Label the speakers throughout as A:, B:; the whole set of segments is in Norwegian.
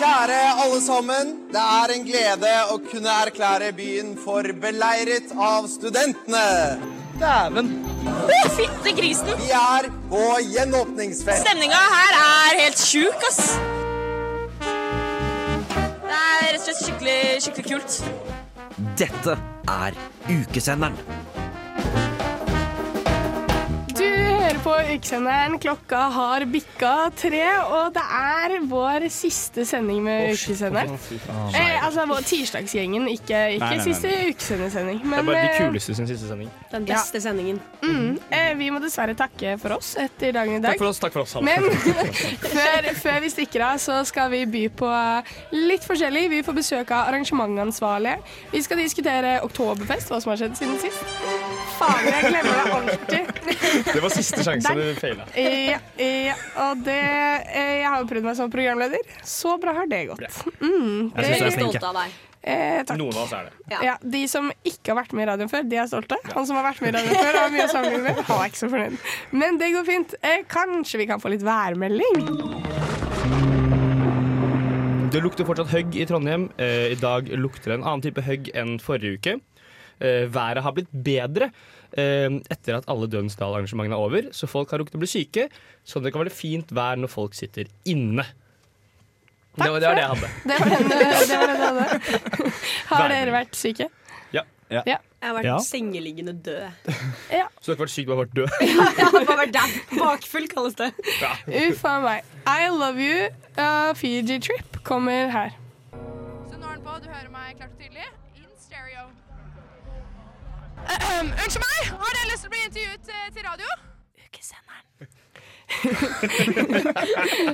A: Kjære alle sammen. Det er en glede å kunne erklære byen for beleiret av studentene.
B: Dæven!
C: Fytte grisen!
A: Vi er på gjenåpningsfest.
C: Stemninga her er helt sjuk, ass. Det er rett og slett skikkelig, skikkelig kult.
D: Dette er Ukesenderen.
E: Du hører på ukesenderen. Klokka har bikka tre, og det er vår siste sending med ukesenderen. Eh, altså vår tirsdagsgjengen, ikke, ikke
F: nei, nei,
E: siste ukesendersending.
F: Det er
E: Men
F: bare de
E: eh,
F: kuleste sin siste sending.
G: Den beste sendingen.
E: eh, vi må dessverre takke for oss etter dagen i dag.
F: Takk for oss. takk for oss alle.
E: Men før, før vi stikker av, så skal vi by på litt forskjellig. Vi får besøk av arrangementansvarlige. Vi skal diskutere Oktoberfest, hva som har skjedd siden sist. Faen, jeg glemmer det alltid.
F: Det var siste sjanse du feila.
E: Ja, ja, E, og det eh, Jeg har jo prøvd meg som programleder. Så bra har det gått. Mm,
F: Jeg synes
E: det,
F: du er flink. jeg.
G: Stolte av deg.
E: eh, takk.
F: Noen av oss er det.
E: Ja, de som ikke har vært med i radioen før, de er stolte. Han som har vært med i radioen før, har mye å sammenligne med. Han er ikke så fornøyd. Men det går fint. Eh, kanskje vi kan få litt værmelding?
F: Det lukter fortsatt høgg i Trondheim. Eh, I dag lukter det en annen type høgg enn forrige uke. Eh, været har blitt bedre eh, etter at alle Dødens Dal-arrangementene er over, så folk har rukket å bli syke, så det kan være fint vær når folk sitter inne. Det var det, var det jeg hadde.
E: Det var eh, den det var den jeg hadde. Har dere vært syke?
G: Jeg har vært
F: Ja.
G: sengeliggende død.
F: Så du har ikke vært syk, du har vært død.
G: Jeg har bare vært dau. Bakfull, kalles det.
E: Uff a meg. I love you, uh, Fiji Trip kommer her.
H: Så nå er den på. Du hører meg klart og tydelig. In stereo. unnskyld meg, har dere lyst til å bli intervjuet eh, til radio?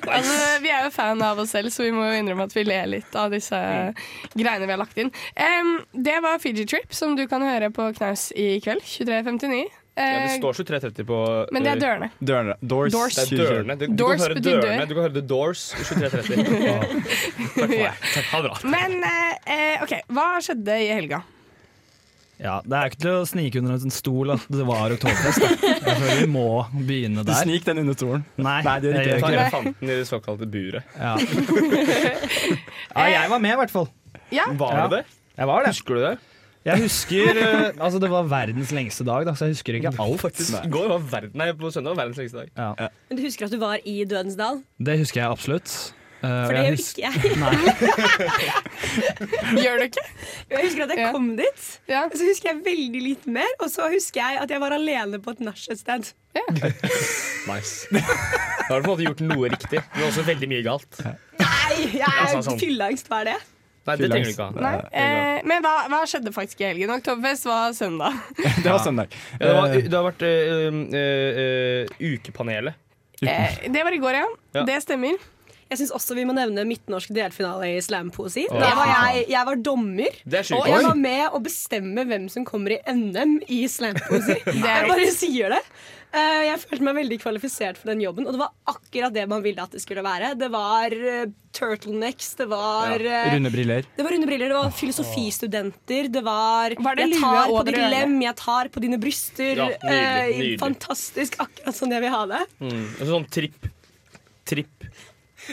E: Altså, vi er jo fan av oss selv, så vi må jo innrømme at vi ler litt av disse greiene vi har lagt inn. Em, det var Fiji Trip, som du kan høre på Knaus i kveld. 23.59.
F: Ja, det
E: Eh,
F: står 23.30 på
E: men det er
F: eh,
E: dørene.
B: Dørene. Doors.
E: Doors.
F: Det er dørene. Du, du
E: Doors
F: kan høre
E: betyr dør.
F: dørene. Du kan høre The Doors i 23.30. Å, Takk for
E: Ja.
F: meg. Takk, Ha det bra.
E: Men eh, eh, OK, hva skjedde i helga?
I: Ja, Det er ikke til å snike under en stol at det var oktoberfest. Da. Jeg føler vi må begynne
B: Du
I: der.
B: snik den under stolen.
I: Nei,
B: Nei, det gjør
I: jeg
B: ikke
F: Ta
I: gjør
F: elefanten i det såkalte buret.
I: Ja. ja, jeg var med i hvert fall.
E: Ja,
F: Var
I: Ja.
F: det det?
I: Jeg var det.
F: Husker du det?
I: Jeg husker, eh, altså Det var verdens lengste dag, da, så jeg husker ikke alt.
F: Faktisk. I går var verden, nei, på søndag var verdens lengste dag.
I: Ja,
G: Men du husker at du var i Dødens dal?
I: det husker jeg absolutt. Eh, og
G: For det
I: jeg
G: gjør
I: husker-
G: ikke jeg.
E: gjør du ikke?
G: Jeg husker at
E: Ja.
G: jeg kom dit,
E: Ja.
G: og så husker jeg veldig lite mer. Og så husker jeg at jeg var alene på et nach et sted.
F: Nice. Da har du på en måte gjort noe riktig, men også veldig mye galt.
G: Nei, jeg
F: Altså,
G: er
F: sånn.
G: fylleangst, hva er det?
F: Nei, det trenger du ikke ha.
E: Nei. Eh, men hva, hva skjedde faktisk i helgen? Oktoberfest var søndag.
B: Det var søndag.
F: Ja, det, var,
B: Eh,
F: det har vært eh, eh, eh, Ukepanelet.
E: Eh, det var i går, ja.
F: Ja.
E: Det stemmer.
G: Jeg syns også vi må nevne midtnorsk delfinale i slampoesi.
F: Å,
G: Der var
F: fy
G: jeg, jeg var dommer.
F: Det er
G: Og
F: sjukt.
G: jeg var med å bestemme hvem som kommer i NM i slampoesi. Jeg bare sier det. Eh, Jeg følte meg veldig kvalifisert for den jobben, og det var akkurat det man ville at det skulle være. Det var eh, turtlenecks, det var eh,
B: Runde briller.
G: det var runde briller, det var filosofistudenter, det var,
E: Var det
G: Jeg
E: lue
G: tar på
E: og
G: ditt
E: briller?
G: lem, jeg tar på dine bryster.
F: Ja, nydelig,
G: Eh,
F: nydelig.
G: Fantastisk. Akkurat sånn jeg vil ha det.
F: Mm. Og så sånn tripp, tripp,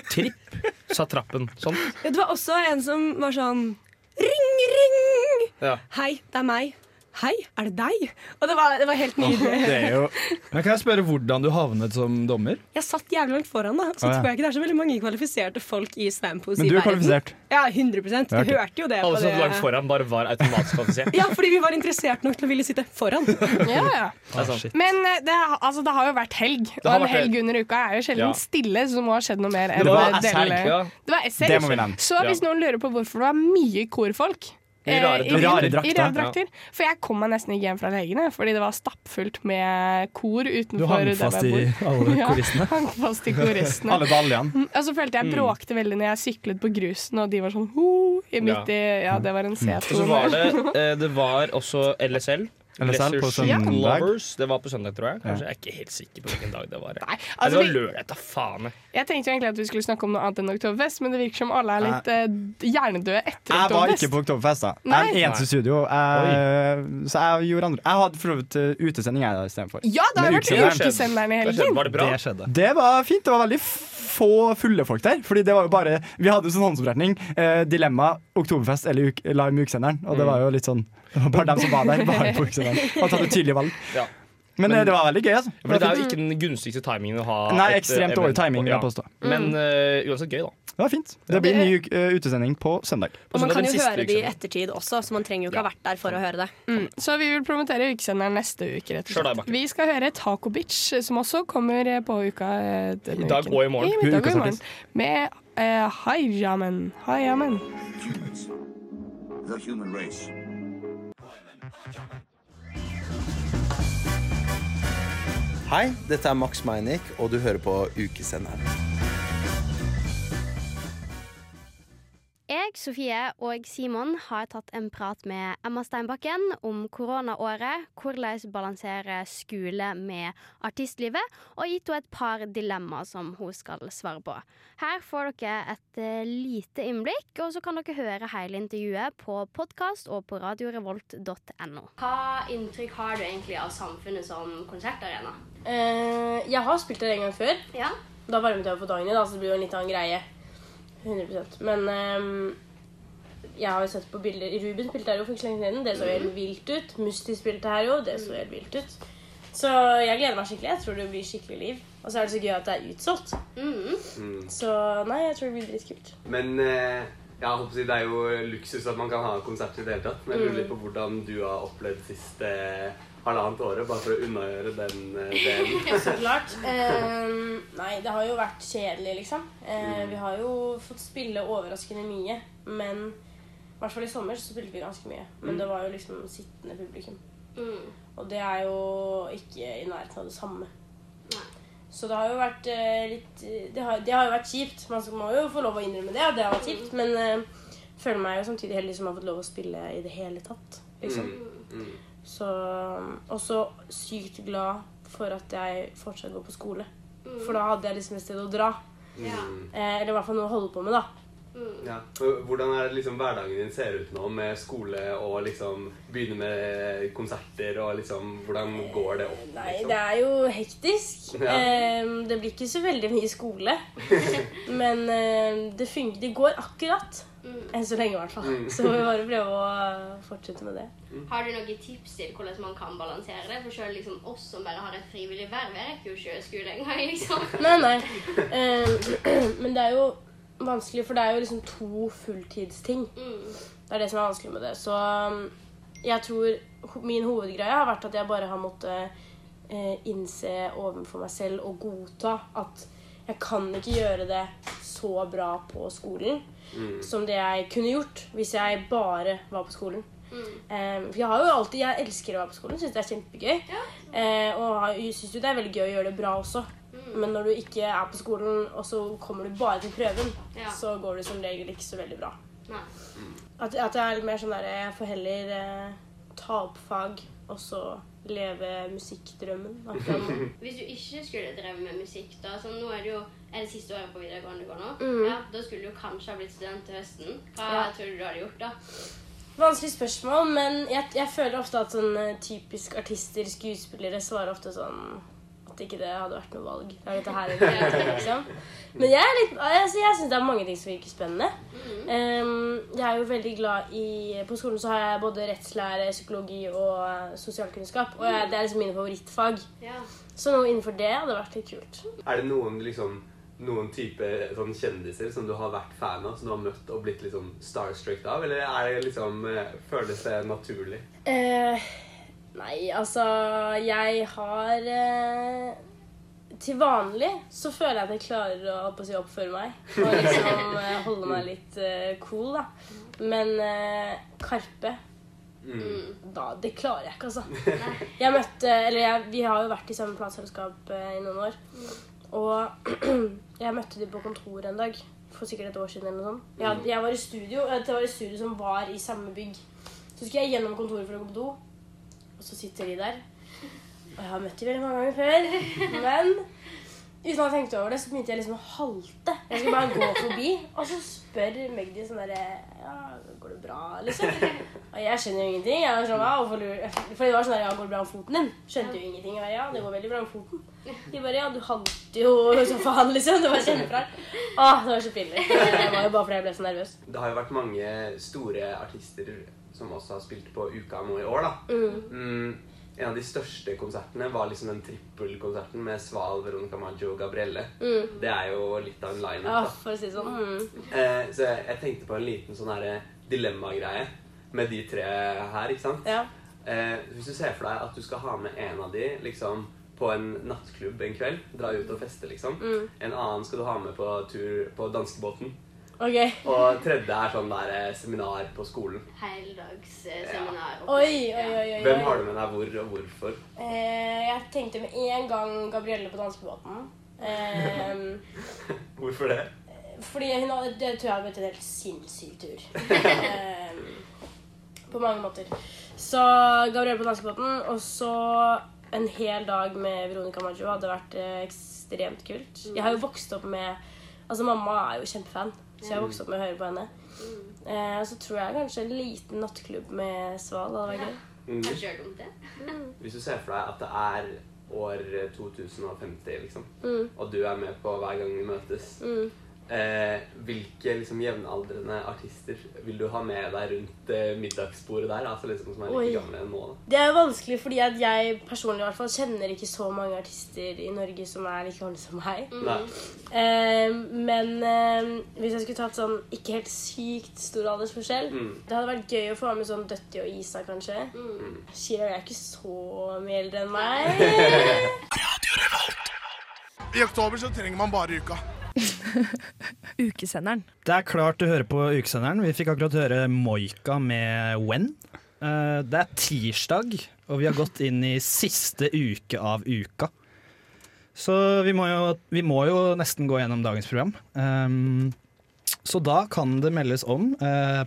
F: tripp, sa trappen. Sånn.
G: Ja, Det var også en som var sånn Ring, ring!
F: Ja.
G: Hei, det er meg. Hei, er det deg? Og det var, det var helt nydelig.
B: Det er jo
I: Men Kan jeg spørre hvordan du havnet som dommer?
G: Jeg satt jævlig langt foran, da. Så
I: Å, ja.
G: tror jeg ikke det er så veldig mange kvalifiserte folk i standpoesi.
B: Men du er kvalifisert.
G: Ja, 100 Du
B: Ja, ok.
G: hørte jo det. på
F: Alle som
G: det.
F: lå foran, bare var automatisk kvalifisert.
G: Ja, fordi vi var interessert nok til å ville sitte foran.
E: Ja, ja.
F: Det er sant.
E: Men eh, det, har- altså, det har jo vært helg, og
F: har
E: en
F: vært
E: helg under uka er jo sjelden
F: Ja.
E: stille, så det må ha skjedd noe mer. enn
F: Det var
E: å dele-
F: S-helg. Ja.
E: Det var SL.
B: Det må vi nevne.
E: Så hvis noen lurer på hvorfor det var mye korfolk
F: I rare
E: eh,
F: drakter.
B: Rare
E: I
B: drakter.
E: rare drakter. For jeg kom meg nesten ikke hjem fra legene, fordi det var stappfullt med kor
I: Du
E: utenfor
I: hang
E: der
I: fast
E: jeg
I: i
E: bor.
I: alle
E: Ja,
I: koristene.
E: hang fast i koristene. Mm,
B: Alle daljene.
E: Og så følte jeg
F: Mm.
E: bråkte veldig når jeg syklet på grusen, og de var
F: Mm.
E: sånn ho, i midt i Ja, det var en
F: Og så
E: C-sone.
F: var det eh, Det var også LSL.
B: Eller selv på
F: Leisure Suit
B: søndag.
F: Lovers. Det var på søndag, tror jeg. Kanskje Jeg er ikke helt sikker på hvilken dag det var. Nei,
E: altså,
F: det var
E: vi-
F: lørdag, da faen. jeg.
E: Jeg tenkte jo egentlig at vi skulle snakke om noe annet enn Oktoberfest, men det virker som alle er litt eh, hjernedøde etter
B: Jeg var
E: Oktoberfest.
B: ikke på Oktoberfest, da. Jeg
E: Nei.
B: er den eneste i studio. Jeg, så jeg gjorde andre. Jeg hadde for så vidt eh, utesending jeg da istedenfor.
E: Ja, det har
B: Med
E: vært
B: ukesenderen.
E: ukesenderen i
F: Det
E: helgen.
F: skjedde, var det bra?
I: Det skjedde.
B: Det var fint. Det var veldig få fulle folk der. Fordi det var jo bare Vi hadde jo sånn håndsopprekning. Eh, dilemma Oktoberfest eller uk Live med ukesenderen. Og det var jo litt sånn det var Bare dem som var der, var på ukesenderen. Og tatt et tydelig valg.
F: Ja.
B: Men, eh, det var veldig gøy, altså.
F: Fordi det er jo ikke den gunstigste timingen å ha.
B: Nei,
F: et, eh,
B: ekstremt
F: event
B: dårlig
F: på.
B: timing, vil
F: Ja.
B: jeg påstå.
G: Mm.
F: Men eh, uansett gøy, da.
B: Det var fint. Det blir ny uk- eh, utesending på søndag.
F: På
G: Og man
F: søndag
G: kan
F: den
G: jo
F: siste liksom.
G: høre det i
F: ukesendingen.
G: ettertid også, så man trenger jo ikke ha vært der for å høre det.
E: Mm. Så vi vil promotere ukesenderen neste uke, rett og
F: Kjør deg,
E: slett.
F: Bakke.
E: Vi skal høre Taco Bitch, som også kommer eh, på uka eh, denne
F: I dag
E: uken.
F: og i morgen.
E: I dag og
B: Ukas
E: i morgen. Med eh, Haijamen. Haijamen.
A: Hei, dette er Max Meinick, og du hører på Ukesenderen.
J: Jeg, Sofie og Simon har tatt en prat med Emma Steinbakken om koronaåret, hvordan balansere skole med artistlivet, og gitt henne et par dilemmaer som hun skal svare på. Her får dere et eh, lite innblikk, og så kan dere høre hele intervjuet på podkast og på radiorevolt.no. Hva inntrykk har du egentlig av samfunnet som konsertarena?
K: Eh, jeg har spilt der en gang før.
J: Ja.
K: Da varmet jeg opp på dagen i, da, så det blir jo en litt annen greie. 100 Men ehm, jeg har jo sett på bilder Ruben spilte her jo for ikke så lenge siden. Det så helt vilt ut. Musti spilte her jo. Det så helt vilt ut. Så jeg gleder meg skikkelig. Jeg tror det blir skikkelig liv. Og så er det så gøy at det er utsolgt. Så nei, jeg tror det blir dritkult.
L: Mm. Men eh, ja, håper å si, det er jo luksus at man kan ha konsert i det hele tatt. Men jeg lurer litt på hvordan du har opplevd siste eh, halvannet året, bare for å unnagjøre den eh, delen.
K: Så klart. Ehm, nei, det har jo vært kjedelig, liksom. Eh, vi har jo fått spille overraskende mye. Men i hvert fall i sommer så spilte vi ganske mye. Men det var jo liksom sittende publikum. Og det er jo ikke i nærheten av det samme. Så det har jo vært eh, litt det har, det har jo vært kjipt. Man må jo få lov å innrømme det. at det har vært kjipt, Men eh, føler meg jo samtidig heldig som har fått lov å spille i det hele tatt. liksom. Så også sykt glad for at jeg fortsatt går på skole. For da hadde jeg liksom et sted å dra. Eh, eller i hvert fall noe å holde på med, da.
L: Mm. Ja. Og Hvordan er det liksom hverdagen din ser ut nå, med skole og liksom begynne med konserter og liksom Hvordan går det opp?
K: Nei,
L: liksom?
K: det er jo hektisk.
L: Ja.
K: Eh, det blir ikke så veldig mye skole. Men eh, det funker. Det går akkurat. Enn så lenge, i hvert fall. Så vi bare prøve å eh, fortsette med det.
J: Har du noen tips til hvordan man kan balansere det? For selv liksom oss som bare har et frivillig verv, jeg rekker jo ikke skole engang, liksom.
K: Nei, nei. Eh, men det er jo vanskelig, for det er jo liksom to fulltidsting. Det er det som er vanskelig med det. Så um, jeg tror ho- min hovedgreie har vært at jeg bare har måttet eh, innse overfor meg selv og godta at jeg kan ikke gjøre det så bra på skolen
F: Mm.
G: Mm.
K: som det jeg kunne gjort hvis jeg bare var på skolen. Eh, for jeg har jo alltid, jeg elsker å være på skolen, syns det er kjempegøy. Eh, og syns jo det er veldig gøy å gjøre det bra også. Men når du ikke er på skolen, og så kommer du bare til prøven,
J: Ja.
K: så går det som regel ikke så veldig bra.
J: Nei.
K: At, at jeg er litt mer sånn der Jeg får heller eh, ta opp fag, og så leve musikkdrømmen. akkurat nå.
J: Hvis du ikke skulle drevet med musikk, da som nå er det jo er det siste året på videregående du går nå, ja, da skulle du kanskje ha blitt student til høsten. Hva
K: Mm. Ja.
J: tror du du hadde gjort da?
K: Vanskelig spørsmål, men jeg, jeg føler ofte at sånn eh, typisk artister, skuespillere, svarer ofte sånn at ikke det hadde vært noe valg. Det er dette her eller ingenting, liksom. Men jeg, er litt- altså, jeg syns det er mange ting som virker spennende. Ehm, jeg er jo veldig glad i På skolen så har jeg både rettslære, psykologi og eh, sosialkunnskap. Og jeg, det er liksom mine favorittfag.
J: Ja.
K: Så noe innenfor det hadde vært litt kult.
L: Er det noen liksom noen type sånn kjendiser som du har vært fan av, som du har møtt og blitt liksom starstruck av? Eller er det liksom, eh, føles det naturlig?
K: Eh, nei, altså Jeg har eh, Til vanlig så føler jeg at jeg klarer å, holdt på å si, oppføre meg. Og liksom eh, holde meg litt eh, cool, da. Men eh, Karpe
G: Mm.
K: da, Det klarer jeg ikke, altså. Jeg møtte Eller jeg, vi har jo vært i samme plateselskap eh, i noen år. Og jeg møtte de på kontoret en dag for sikkert et år siden. eller noe sånt. Jeg, hadde- jeg var i studio, det var i studio som var i samme bygg. Så skulle jeg gjennom kontoret for å gå på do. Og Og så sitter de der. Og jeg har møtt dem veldig mange ganger før. Men uten å ha tenkt over det, så begynte jeg liksom å halte. Jeg skulle bare gå forbi, og så spør Magdi sånn derre Ja, går det bra, liksom? Og jeg skjønner jo ingenting. Jeg var sånn, «Wow, hvorfor lurer- Fordi det var sånn der, ja, går det bra med foten din? Skjønte jo ingenting. Jeg bare, ja, det går veldig bra med foten. De bare ja, du halter jo som faen, liksom. Det var kjempefælt. Åh, det var så pinlig. Det var jo bare fordi jeg ble så nervøs.
L: Det har jo vært mange store artister som også har spilt på Uka nå i år, da.
K: Mm.
L: Mm, en av de største konsertene var liksom den trippelkonserten med Sval, Veronica Maggio og Gabrielle.
K: Mm.
L: Det er jo litt av en line-up,
K: Ja,
L: da.
K: for å si det sånn. Mm.
L: Eh, så jeg, jeg tenkte på en liten sånn her dilemma-greie med de tre her, ikke sant? Eh, hvis du ser for deg at du skal ha med en av de liksom, på en nattklubb en kveld, dra ut og feste, liksom.
K: Mm.
L: En annen skal du ha med på tur på danskebåten.
K: Ok.
L: Og tredje er sånn der eh, seminar på skolen.
J: Heldagsseminar.
K: Oi, oi, oi, oi.
L: Hvem har du med deg hvor og hvorfor?
K: Eh, jeg tenkte med en gang Gabrielle på danskebåten. Eh,
L: Hvorfor det?
K: fordi hun hadde, det tror jeg hadde blitt en helt sinnssyk tur. Eh, på mange måter. Så Gabrielle på danskebåten, og så en hel dag med Veronica Maggio hadde vært eh, ekstremt kult. Jeg har jo vokst opp med Altså, mamma er jo kjempefan, så jeg har vokst opp med å høre på henne. Eh, så tror jeg kanskje en liten nattklubb med Sval hadde vært gøy.
L: Mm.
J: dumt, det.
K: Mm.
L: Hvis du ser for deg at det er år 2050, liksom,
K: Mm.
L: og du er med på hver gang vi møtes,
K: Mm.
L: eh, hvilke liksom, jevnaldrende artister vil du ha med deg rundt eh, middagsbordet der? Altså liksom som er
K: Oi.
L: like gamle nå, da.
K: Det er jo vanskelig fordi at jeg personlig i hvert fall kjenner ikke så mange artister i Norge som er like gamle som meg.
L: Nei.
K: Eh, men eh, hvis jeg skulle tatt sånn ikke helt sykt stor aldersforskjell
L: Mm.
K: Det hadde vært gøy å få med sånn Døtti og Isa, kanskje.
L: Mm.
K: Shira er ikke så mye eldre enn meg.
M: I oktober så trenger man bare uka.
N: Ukesenderen.
I: Det er klart du hører på ukesenderen. Vi fikk akkurat høre Moika med When. Eh, Det er tirsdag, og vi har gått inn i siste uke av uka. Så vi må jo, vi må jo nesten gå gjennom dagens program. Ehm, så da kan det meldes om uh,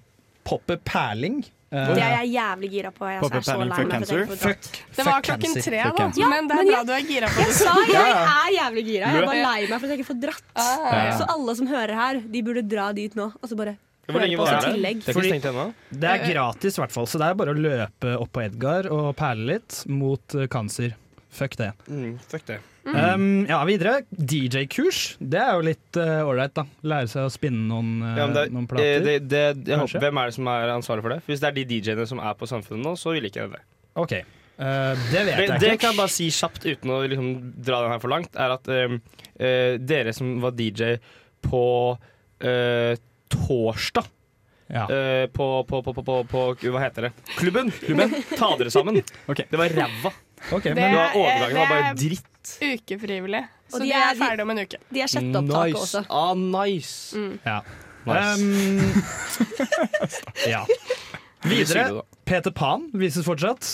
I: Poppe Perling. Eh,
N: Det er jeg jævlig gira på. Jeg
I: Poppe
N: er så
I: Perling,
N: lei meg
I: fuck
N: for at jeg
I: cancer.
N: ikke får
I: Fuck-
N: dratt.
I: Det var fuck klokken cancer. tre, Fuck da, cancer.
E: men det er bra du er gira på
N: jeg, Jeg
E: det.
N: sa jeg
E: Ja.
N: er jævlig gira. Jeg er bare
E: Ja.
N: lei meg for at jeg ikke får dratt.
I: ja.
N: Så alle som hører her, de burde dra dit nå, og så bare
I: Hvor
N: høre
I: lenge
N: på oss i
I: varer det?
N: tillegg.
I: Det er ikke Fordi- stengt Det er gratis, i hvert fall, så det er bare å løpe opp på Edgar og perle litt mot eh, cancer. Fuck det.
F: Mm, fuck det.
G: Mm.
B: Eh,
I: Um, ja, videre. DJ-kurs. Det er jo litt eh, ålreit, da. Lære seg å spinne noen, eh,
F: Ja, men det,
I: noen
F: eh,
I: plater.
F: det, det, jeg
I: kanskje?
F: håper, hvem er det som er ansvarlig for det? Hvis det er de DJ-ene som er på Samfunnet nå, så vil ikke jeg det.
I: OK. Eh, det vet
F: det,
I: jeg
F: det
I: ikke.
F: kan jeg bare si kjapt uten å liksom dra den her for langt, er at eh, eh, dere som var DJ på eh, torsdag eh, på, på, på, på, på, på Hva heter det? Klubben! Ta dere sammen! Det var ræva.
I: Okay,
E: Det
F: det var
E: er-
F: overgangen var bare
E: det er-
F: dritt.
E: Ukefrivillig. Så
N: Og
E: de,
N: de
E: er
N: er-
E: ferdig om en uke.
N: De er sjette opptaket
F: Nice.
N: også.
F: Ah, nice.
E: Mm.
I: Ja.
F: Nice.
I: Um, ja. Videre. Peter Pan vises fortsatt.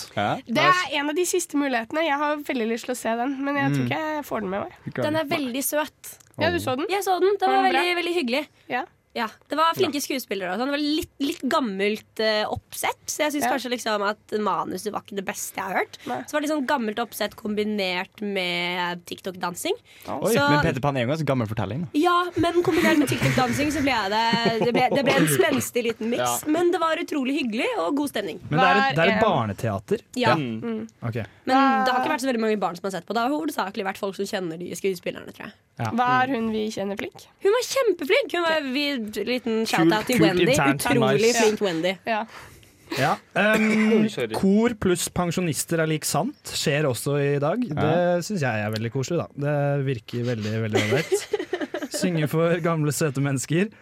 E: Det er en av de siste mulighetene. Jeg har veldig lyst til å se den, men jeg tror
I: Mm.
E: ikke jeg får den med meg.
N: Den er veldig søt.
E: Ja, du så den?
N: Jeg så den. Den
E: Var
N: var,
E: den bra?
N: veldig, veldig hyggelig.
E: Ja.
N: Det var flinke skuespillere. og sånn. Det var litt, litt gammelt eh, oppsett, så jeg syns
E: Ja.
N: kanskje liksom at manuset var ikke det beste jeg har hørt. Så var det litt sånn gammelt oppsett kombinert med TikTok-dansing.
B: Oi,
N: Så-
B: men Peter Pan er jo en ganske gammel fortelling. Da.
N: ja, men kombinert med TikTok-dansing så ble jeg det, det, ble, det ble en spenstig liten miks.
I: Ja.
N: Men det var utrolig hyggelig og god stemning.
I: Men det er et,
G: eh,
I: det er et barneteater?
N: Ja. Mm.
I: Ok.
N: Men det har ikke vært så veldig mange barn som har sett på. Det har hovedsakelig vært folk som kjenner de skuespillerne, tror jeg.
I: Ja.
E: Hva er hun vi kjenner flink?
N: Hun var kjempeflink! Hun var vi, Liten shout-out til
I: kult
N: Wendy.
I: internt,
N: Utrolig
I: nice.
N: flink Wendy.
I: Ja. Um, kor pluss pensjonister er lik sant skjer også i dag. Det syns jeg er veldig koselig, da. Det virker veldig veldig ålreit. Synge for gamle, søte mennesker.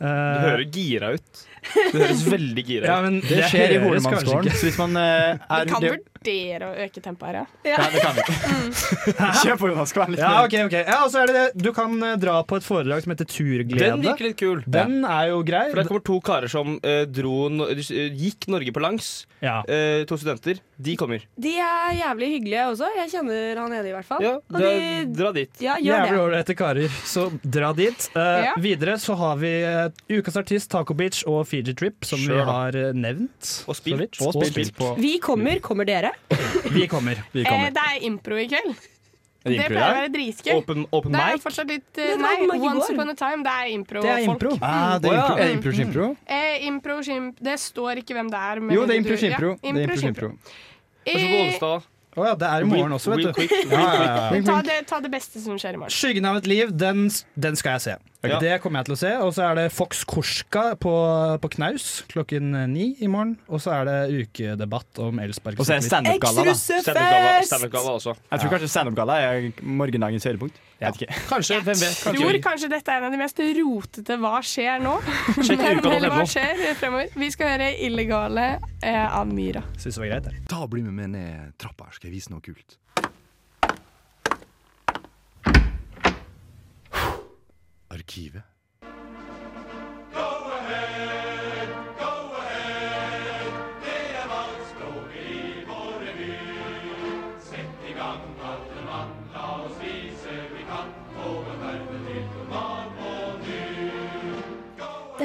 F: Du hører gira ut. Du høres veldig gira ut.
I: Eh. Ja, men
B: Det
I: det
B: skjer i
I: høres kanskje
B: Horemannsgården,
I: ikke.
B: så hvis man eh, er
E: Vi kan
B: det-
E: vurdere å øke tempoet her,
B: ja. det kan vi ikke.
I: Mm.
B: Kjør på, Jonas. Vær litt mer-
I: Ja, ok, ok ja, og så er det det. Du kan eh, dra på et foredrag som heter Turglede.
F: Den virker litt kul.
I: Den er jo grei.
F: For der kommer to karer som eh, dro, no- eh, gikk Norge på langs.
I: Ja.
F: Eh, to studenter. De kommer.
G: De er jævlig hyggelige også. Jeg kjenner han ene i hvert fall.
F: Ja,
G: Og
F: dra,
G: de-
F: dra dit.
G: Ja, gjør
I: Jævlig
G: det.
I: ålreite karer, så dra dit. Eh,
G: Ja.
I: Videre så har vi eh, ukas artist, Taco Beach og Fiji Trip, som
F: Sure,
I: vi
F: da.
I: har eh, nevnt.
F: Og spilt.
I: så vidt.
F: Og
I: Og
F: spilt.
I: spilt på.
G: Vi kommer. Kommer dere?
I: Vi kommer. Vi
E: Eh, det er impro i kveld.
I: Er
E: Det
I: det impro
E: pleier å
I: i dag?
E: være dritgøy.
I: Open- open
E: det er
I: mic?
E: fortsatt litt
G: Ja,
E: eh,
G: det var
E: Nei,
G: open mic i
E: Once
G: går.
E: upon a time, det er impro.
I: Det er
E: folk.
I: impro.
B: Ah, det
I: Å,
B: er
I: ja.
B: impro. Er det impro skimpro?
E: Eh, impro, skimp Det står ikke hvem det er. men
B: Jo, det er
E: du-
B: impro skimpro.
E: Ja, impro, Eh, skimpro.
F: Kanskje på onsdag.
I: Å ja, det er i morgen også, vet
F: Wink,
I: du.
F: wink, wink,
I: Ja, ja, ja.
E: Eh, Ta, det, ta det beste som skjer i morgen.
I: Skyggen av et liv, den, den skal jeg se.
F: Ok.
I: Det kommer jeg til å se. Og så er det Fox Korska på, på Knaus klokken ni i morgen. Og så er det ukedebatt om elspark.
B: Og så er det standup-galla, da.
F: Standup-galla- standup-galla også.
B: Jeg tror kanskje standup-galla er morgendagens høydepunkt. Jeg vet ikke.
F: Kanskje, hvem vet.
E: tror kanskje dette er en av de mest rotete 'hva skjer nå'?
B: Sjekk
E: Men
B: uka.no.
E: vel, hva skjer fremover? Vi skal høre 'Illegale' eh, av Myra.
I: Syns det var greit, det.
O: Ta bli med meg ned trappa, her skal jeg vise noe kult. Arkivet.
P: Det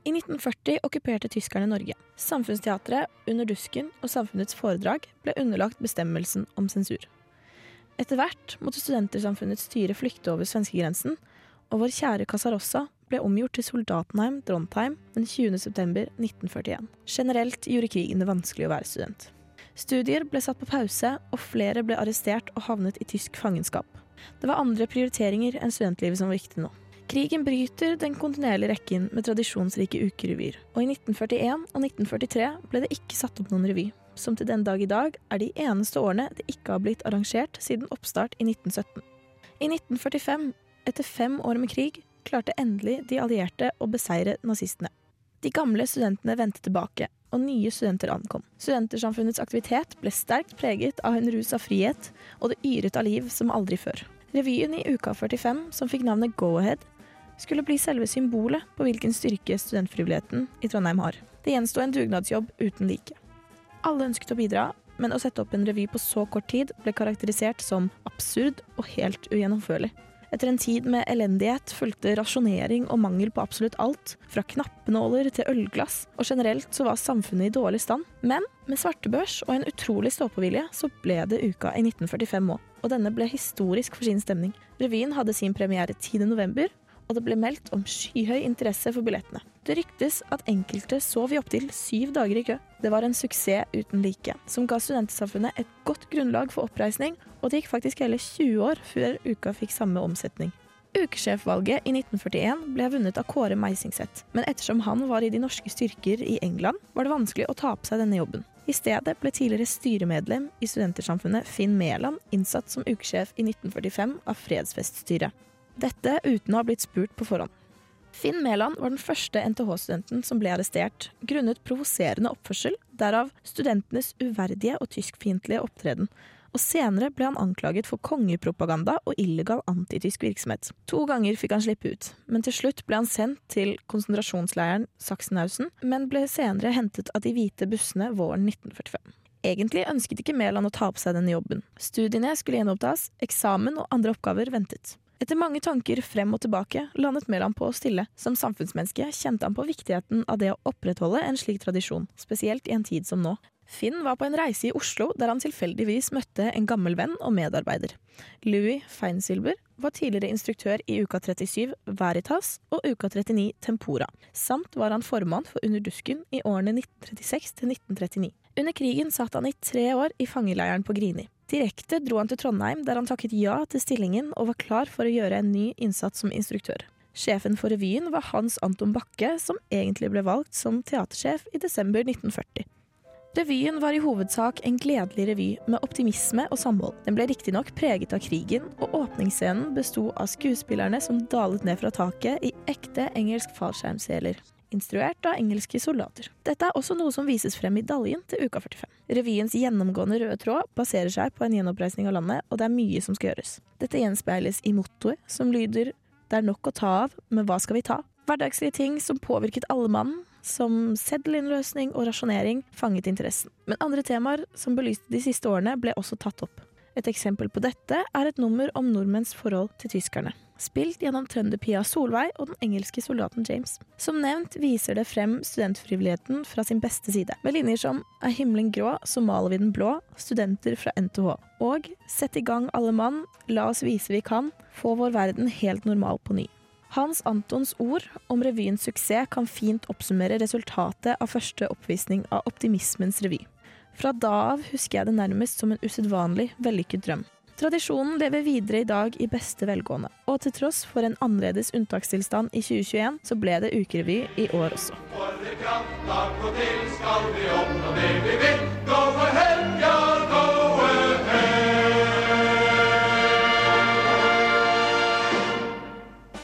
P: I 1940 okkuperte tyskerne Norge. Samfunnsteatret, Under dusken og Samfunnets foredrag ble underlagt bestemmelsen om sensur. Etter hvert måtte Studentersamfunnets styre flykte over svenskegrensen, og vår kjære Casarossa ble omgjort til Soldatenheim Trondheim den 20.9.1941. Generelt gjorde krigen det vanskelig å være student. Studier ble satt på pause, og flere ble arrestert og havnet i tysk fangenskap. Det var andre prioriteringer enn studentlivet som var viktig nå. Krigen bryter den kontinuerlige rekken med tradisjonsrike ukerevyer, og i 1941 og 1943 ble det ikke satt opp noen revy, som til den dag i dag er de eneste årene det ikke har blitt arrangert siden oppstart i 1917. I 1945, etter fem år med krig, klarte endelig de allierte å beseire nazistene. De gamle studentene vendte tilbake, og nye studenter ankom. Studentersamfunnets aktivitet ble sterkt preget av en rus av frihet og det yret av liv som aldri før. Revyen i uka 45, som fikk navnet Go Ahead, skulle bli selve symbolet på hvilken styrke studentfrivilligheten i Trondheim har. Det gjensto en dugnadsjobb uten like. Alle ønsket å bidra, men å sette opp en revy på så kort tid ble karakterisert som absurd og helt ugjennomførlig. Etter en tid med elendighet fulgte rasjonering og mangel på absolutt alt, fra knappenåler til ølglass, og generelt så var samfunnet i dårlig stand. Men med svartebørs og en utrolig ståpåvilje så ble det uka i 1945 òg, og denne ble historisk for sin stemning. Revyen hadde sin premiere 10.11., og det ble meldt om skyhøy interesse for billettene. Det ryktes at enkelte sov i opptil syv dager i kø. Det var en suksess uten like, som ga studentsamfunnet et godt grunnlag for oppreisning, og det gikk faktisk hele 20 år før uka fikk samme omsetning. Ukesjefvalget i 1941 ble vunnet av Kåre Meisingseth, men ettersom han var i de norske styrker i England, var det vanskelig å ta på seg denne jobben. I stedet ble tidligere styremedlem i Studentersamfunnet Finn Mæland innsatt som ukesjef i 1945 av Fredsfeststyret. Dette uten å ha blitt spurt på forhånd. Finn Mæland var den første NTH-studenten som ble arrestert grunnet provoserende oppførsel, derav studentenes uverdige og tyskfiendtlige opptreden. Og senere ble han anklaget for kongepropaganda og illegal antitysk virksomhet. To ganger fikk han slippe ut, men til slutt ble han sendt til konsentrasjonsleiren Sachsenhausen, men ble senere hentet av de hvite bussene våren 1945. Egentlig ønsket ikke Mæland å ta på seg denne jobben. Studiene skulle gjenopptas, eksamen og andre oppgaver ventet. Etter mange tanker frem og tilbake landet Mæland på å stille. Som samfunnsmenneske kjente han på viktigheten av det å opprettholde en slik tradisjon, spesielt i en tid som nå. Finn var på en reise i Oslo der han tilfeldigvis møtte en gammel venn og medarbeider. Louis Feinsilber var tidligere instruktør i Uka 37 Veritas og Uka 39 Tempora, samt var han formann for Under dusken i årene 1936 til 1939. Under krigen satt han i tre år i fangeleiren på Grini. Direkte dro han til Trondheim, der han takket ja til stillingen og var klar for å gjøre en ny innsats som instruktør. Sjefen for revyen var Hans Anton Bakke, som egentlig ble valgt som teatersjef i desember 1940. Revyen var i hovedsak en gledelig revy med optimisme og samhold. Den ble riktignok preget av krigen, og åpningsscenen besto av skuespillerne som dalet ned fra taket i ekte engelsk fallskjermseler. Instruert av engelske soldater. Dette er også noe som vises frem i daljen til uka 45. Revyens gjennomgående røde tråd baserer seg på en gjenoppreisning av landet, og det er mye som skal gjøres. Dette gjenspeiles i mottoet, som lyder 'Det er nok å ta av, men hva skal vi ta?' Hverdagslige ting som påvirket alle mann, som seddelinnløsning og rasjonering, fanget interessen. Men andre temaer som belyste de siste årene, ble også tatt opp. Et eksempel på dette er et nummer om nordmenns forhold til tyskerne. Spilt gjennom trønderpia Solveig og den engelske soldaten James. Som nevnt viser det frem studentfrivilligheten fra sin beste side, med linjer som Er himmelen grå, så maler vi den blå, studenter fra NTH. Og Sett i gang alle mann, la oss vise vi kan, få vår verden helt normal på ny. Hans Antons ord om revyens suksess kan fint oppsummere resultatet av første oppvisning av Optimismens revy. Fra da av husker jeg det nærmest som en usedvanlig vellykket drøm. Tradisjonen lever videre i dag i beste velgående, og til tross for en annerledes unntakstilstand i 2021, så ble det ukerevy i år også.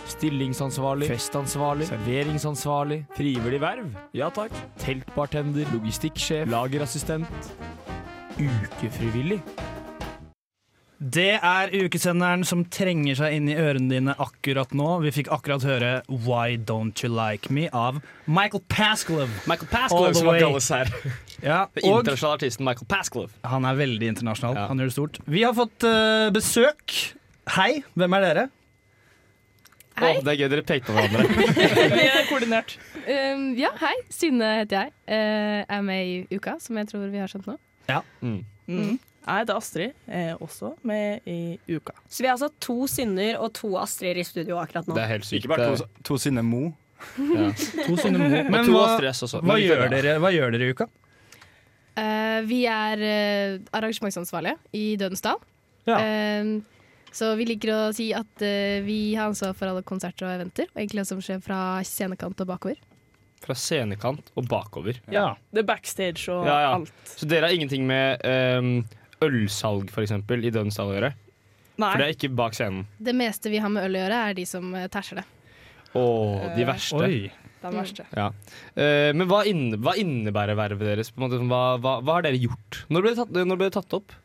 Q: Stillingsansvarlig. Festansvarlig. Serveringsansvarlig. Frivillig verv. Ja takk. Teltbartender. Logistikksjef. Lagerassistent. Ukefrivillig.
I: Det er ukesenderen som trenger seg inn i ørene dine akkurat nå. Vi fikk akkurat høre Why Don't You Like Me av Michael Pasclov.
F: Michael Pasclov som var kalles her.
I: Ja,
F: Den
I: og
F: internasjonale artisten Michael Pasclov.
I: han er veldig internasjonal. Han gjør det stort. Vi har fått eh, besøk. Hei, hvem er dere?
F: Å, det er gøy dere pekte på hverandre.
R: Vi er koordinert. Um, ja, hei. Synne heter jeg. Eh, er med i Uka, som jeg tror vi har skjønt nå.
I: Ja.
R: Mm.
S: Jeg heter Astrid, eh, også med i Uka.
G: Så vi har altså to Synner og to Astrid i studio akkurat nå.
B: Ikke bare to, to Synne Mo.
F: eh, Ja.
I: To Synne Mo.
F: Og sånn.
I: Men
F: to
I: hva,
F: Astrid S også.
I: hva,
F: Men vi
I: gjør
F: følger.
I: dere, hva gjør dere i uka?
R: Eh, vi er eh, arrangementsansvarlige i Dødens Dal.
I: Ja.
R: Eh, så vi liker å si at eh, vi har ansvar for alle konserter og eventer, og egentlig det som skjer fra scenekant og bakover.
F: Fra scenekant og bakover.
S: Ja. Det er backstage og
F: Ja, ja.
S: alt.
F: Så dere har ingenting med ehm, ølsalg for eksempel, i Dønsdal å gjøre?
R: Nei.
F: For det er ikke bak scenen.
R: Det meste vi har med øl å gjøre, er de som eh, tæsjer det. Mm.
F: Å, de
R: Eh,
F: verste.
R: oi. De verste.
F: Ja. Eh, men hva, inne, hva innebærer vervet deres? På en måte, sånn, hva, hva, hva har dere gjort? Når ble det tatt, når ble det tatt opp?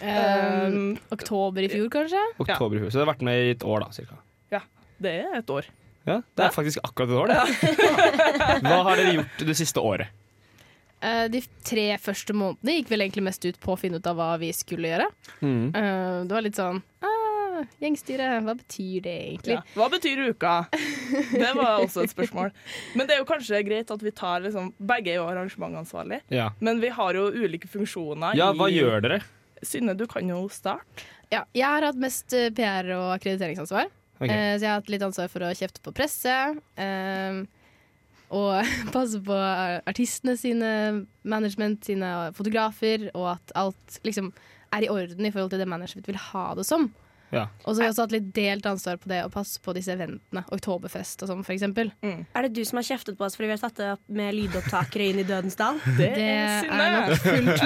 R: Eh, oktober i fjor, kanskje?
F: Oktober i fjor. Så det har vært med i et år, da, cirka.
S: Ja, det er et år.
F: Ja, det er faktisk akkurat et år, det. Hva har dere gjort det siste året?
R: Eh, de tre første månedene gikk vel egentlig mest ut på å finne ut av hva vi skulle gjøre.
S: Hmm.
F: Mm.
R: Eh, det var litt sånn ah, Gjengstyre, hva betyr det egentlig?
S: Ja. Hva betyr uka? Det var også et spørsmål. Men det er jo kanskje greit at vi tar liksom Begge er jo arrangementansvarlig,
F: Ja.
S: men vi har jo ulike funksjoner
F: ja, hva gjør dere?
S: Synne, du kan jo starte.
R: Ja, jeg har hatt mest eh, PR og akkrediteringsansvar.
S: Ok.
R: Eh, så jeg har hatt litt ansvar for å kjefte på presse. eh, og passe på eh, artistene sine, management sine og fotografer, og at alt liksom er i orden i forhold til det management vil ha det som.
F: Ja.
R: Og så har jeg også hatt litt delt ansvar på det å passe på disse eventene. Oktoberfest og sånn, for eksempel.
S: Mm.
G: Er det du som har kjeftet på oss fordi vi har tatt det opp med lydopptakere inn i Dødens dal?
R: Det er Synne. nok
S: fullt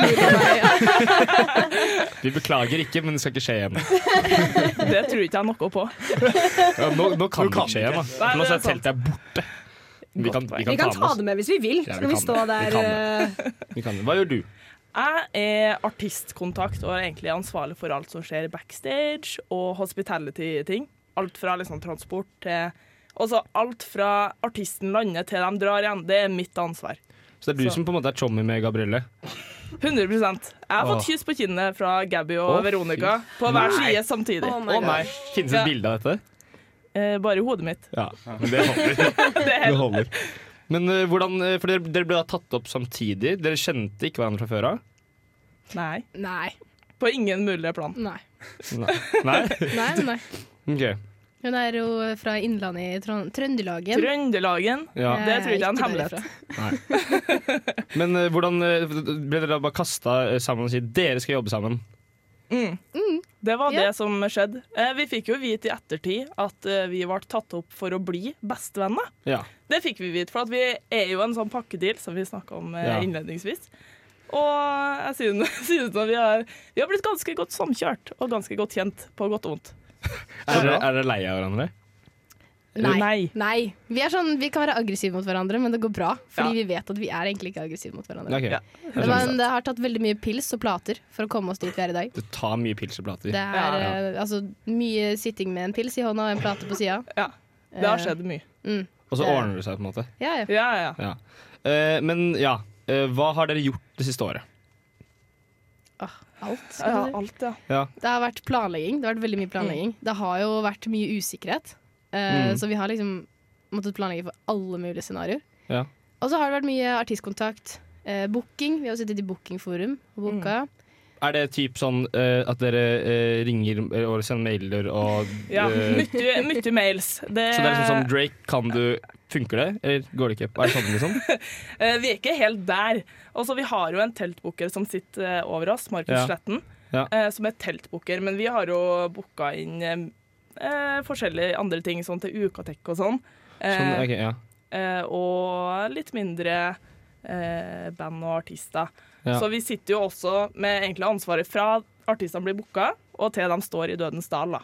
F: Vi beklager ikke, men det skal ikke skje igjen.
S: Det tror ikke jeg noe på.
F: Ja, nå,
S: Nå
F: nå kan det
S: kan
F: ikke skje
S: det
F: igjen, da.
S: ikke. Nei,
F: For Nå
S: det er
F: er teltet er borte. Vi kan, vi kan,
G: Vi kan ta
F: med
G: det med hvis vi vil. Så
F: Ja, vi
G: kan vi
F: kan
G: stå
F: det. Vi
G: der
F: kan
G: eh,
F: oss. Vi kan. Hva gjør du?
S: Jeg er artistkontakt og er egentlig ansvarlig for alt som skjer backstage og hospitality-ting. Alt fra liksom transport til Også alt fra artisten lander til de drar igjen. Det er mitt ansvar.
F: Så det er du
S: Så.
F: som på en måte er chommy med Gabrielle?
S: 100 Jeg har fått
F: Åh.
S: kyss på kinnet fra Gabby og
F: Å,
S: Veronica
F: fy.
S: på hver
F: Nei.
S: side samtidig.
R: Oh
F: Å nei. Finnes det
S: Ja.
F: et bilde av dette?
S: Eh, bare i hodet mitt.
F: Ja, men det holder. det holder. Men eh, hvordan, eh, for dere, dere ble da tatt opp samtidig. Dere kjente ikke hverandre fra før av?
S: Nei.
R: Nei.
S: På ingen mulig plan.
R: Nei.
F: Nei. Nei?
R: Nei, nei.
F: Ok.
R: Hun er jo fra Innlandet i Trond Trøndelagen. Eh,
S: Trøndelagen.
F: Ja.
S: Det tror jeg ikke er en
R: Ikke
S: hemmelighet.
R: derifra.
F: Men eh, hvordan eh, ble dere da bare kasta sammen og si dere skal jobbe sammen?
S: Mm. Det var
R: Ja.
S: det som skjedde. Eh, Vi fikk jo vite i ettertid at eh, vi ble tatt opp for å bli bestevenner.
F: Ja.
S: Det fikk vi vite, for at vi er jo en sånn pakkedeal som vi snakka om eh,
F: Ja.
S: innledningsvis. Og jeg synes, synes at vi har, vi har blitt ganske godt samkjørt og ganske godt kjent, på godt og vondt.
F: Er dere, er dere lei av hverandre?
R: Nei.
S: Nei.
R: Vi, er sånn, vi kan være aggressive mot hverandre, men det går bra. Fordi
F: Ja.
R: vi vet at vi er egentlig ikke aggressive mot hverandre.
F: Ok.
R: Men man det har tatt veldig mye pils og plater for å komme oss dit vi er i dag.
F: Det tar mye pils og plater.
R: Det er eh, altså, mye sitting med en pils i hånda og en plate på sida.
S: Det har skjedd mye.
R: Mm.
F: Og så
R: Eh,
F: ordner det seg på en måte.
R: Ja, ja.
F: Ja. Eh, men ja, eh, hva har dere gjort det siste året?
R: Alt. skal
S: Ja,
R: du si.
S: alt, ja.
F: Ja.
R: Det har vært planlegging. Det har vært veldig mye planlegging.
S: Mm.
R: Det har jo vært mye usikkerhet. Eh,
F: Mm.
R: Så vi har liksom måttet planlegge for alle mulige scenarioer.
F: Ja.
R: Og så har det vært mye artistkontakt. Eh, booking. Vi har jo sittet i bookingforum og
S: Mm.
R: booka.
F: Er det typ sånn eh, at dere eh, ringer og sender mailer og
S: Ja,
F: eh,
S: mye, mye mails. Det,
F: Så det er liksom sånn Drake, kan du Funker det, eller går det ikke? Er det sånn liksom?
S: Eh, Vi er ikke helt der. Og så Vi har jo en teltbooker som sitter eh, over oss, Markus
F: Ja.
S: Sletten,
F: Ja.
S: eh, som er teltbooker. Men vi har jo booka inn eh, eh, forskjellige andre ting, sånn til Ukatek og sånn. Eh,
F: Sånn, ok, ja.
S: eh, og litt mindre eh, band og artister.
F: Ja.
S: Så vi sitter jo også med egentlig ansvaret fra artistene blir booka, og til de står i Dødens dal, da.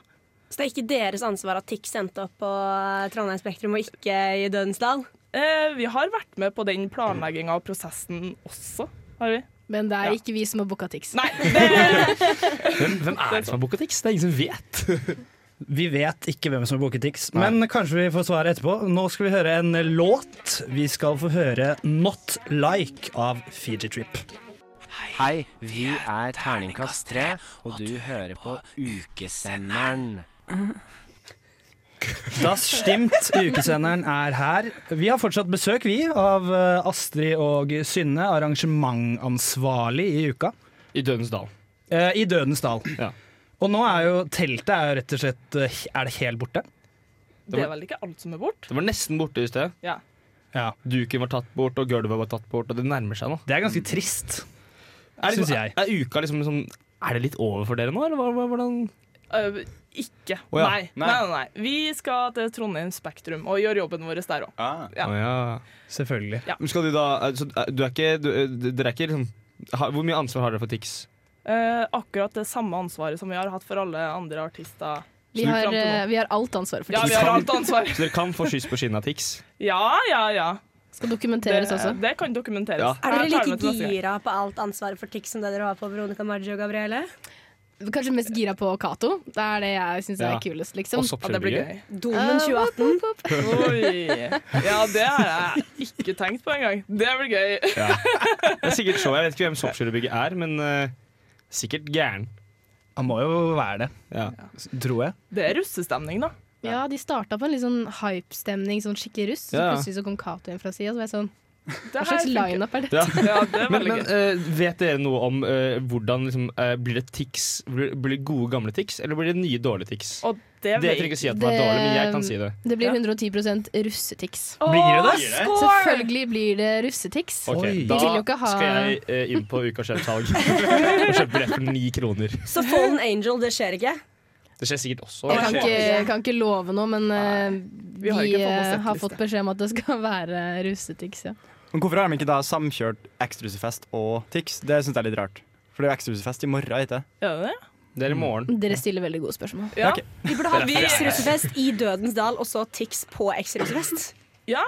G: Så det er ikke deres ansvar at TIX endte opp på eh, Trondheim Spektrum og ikke i Dødens Dal?
S: Eh, vi har vært med på den planlegginga og prosessen også, har vi.
R: Men det er ikke vi som har booka Tix.
S: Nei,
F: Hvem, hvem er det som har booket Tix? Det er ingen som vet.
I: Vi vet ikke hvem som har booket Tix, men kanskje vi får svaret etterpå. Nå skal vi høre en låt. Vi skal få høre 'Not Like' av Fiji Trip.
T: Hei, vi er Terningkast 3, og du hører på Ukesenderen.
I: Das stimmt, ukesenderen er her. Vi har fortsatt besøk, vi, av eh, Astrid og Synne, arrangementansvarlig i uka. Eh,
F: I Dødens dal.
I: I Dødens dal. Og nå er jo teltet er jo rett og slett eh, Er det helt borte?
S: Det er vel ikke alt som er bort?
F: Det var nesten borte i sted.
S: Ja.
F: Duken var tatt bort, og gulvet var tatt bort, og det nærmer seg nå.
I: Det er ganske trist,
F: er liksom,
I: synes jeg.
F: Er, er uka liksom, liksom Er det litt over for dere nå, eller hva- hva- hvordan
S: Øh, ikke.
F: Å ja.
S: nei. Nei.
F: Nei.
S: Nei, nei. Vi skal til Trondheim Spektrum og gjøre jobben vår der òg. Ja.
F: Å, ja.
I: Selvfølgelig.
F: Men Skal du da eh, så, eh, Du er ikke du, eh, Dere er ikke liksom ha, Hvor mye ansvar har dere for Tix?
S: Eh, akkurat det samme ansvaret som vi har hatt for alle andre artister.
R: Vi
S: Så
R: har,
S: fram til nå.
R: eh, vi har alt ansvar for
S: Ja, vi
R: Tix.
S: har alt ansvar.
F: Så dere kan få skyss på skinnet av Tix?
S: Ja, ja, ja.
R: Skal dokumenteres
S: det,
R: også.
S: Det kan dokumenteres.
F: Ja.
G: Er dere
S: Jeg tar med til
G: like
S: neste gang.
G: gira på alt ansvaret for TIX som det dere har på Veronica Maggio og Gabrielle?
R: Kanskje mest gira på Cato. Det er det jeg syns
F: Ja.
R: er kulest, liksom.
F: Og soppkjøring. Ja, det blir gøy.
G: Domen 2018.
S: Oi. Ja, det har jeg ikke tenkt på engang. Det blir gøy.
F: Ja. Det er sikkert show. Jeg vet ikke hvem Soppkjørebygget er, men eh, sikkert gæren.
I: Han må jo være det, tror jeg.
S: Det er russestemning, da.
R: Ja, de starta på en litt sånn hype-stemning, sånn skikkelig russ. Så
F: Ja.
R: plutselig så kom Cato inn fra sida, så var jeg sånn Hva
S: her
R: slags
S: funker.
R: lineup er dette?
F: Ja.
S: det er
F: men
S: veldig
F: men eh, vet dere noe om eh, hvordan liksom, eh, Blir det tics, blir, blir det gode gamle tics, eller blir det nye dårlige tics?
S: det
F: dere trenger ikke si at det var dårlig, men jeg kan si det.
R: Det blir 110 russetix.
F: Blir det det? Skål!
R: Selvfølgelig blir det russetix.
F: Ok,
R: De
F: Da
R: vil jo ikke ha
F: skal jeg eh, inn på ukas kjøpsalg og kjøpe billett for ni kroner.
G: Så Fallen Angel, det skjer ikke?
F: Det skjer sikkert også.
R: Jeg kan ikke, kan ikke love noe, men eh,
G: Vi har
R: vi
G: ikke fått noe
R: eh, har
G: settliste.
R: fått beskjed om at det skal være russetix, ja.
B: Men hvorfor har de ikke da samkjørt Ekstrahusefest og Tix? Det syns jeg er litt rart. For det er jo Ekstrahusefest i morgen, ikke
S: Gjør det det?
F: Det er i morgen.
R: Dere stiller veldig gode spørsmål.
B: Ja. Ok.
G: Vi burde ha
B: Det er derfor jeg er her.
G: X-Russefest i Dødens Dal og så TIX på X-Russefest.
S: Ja,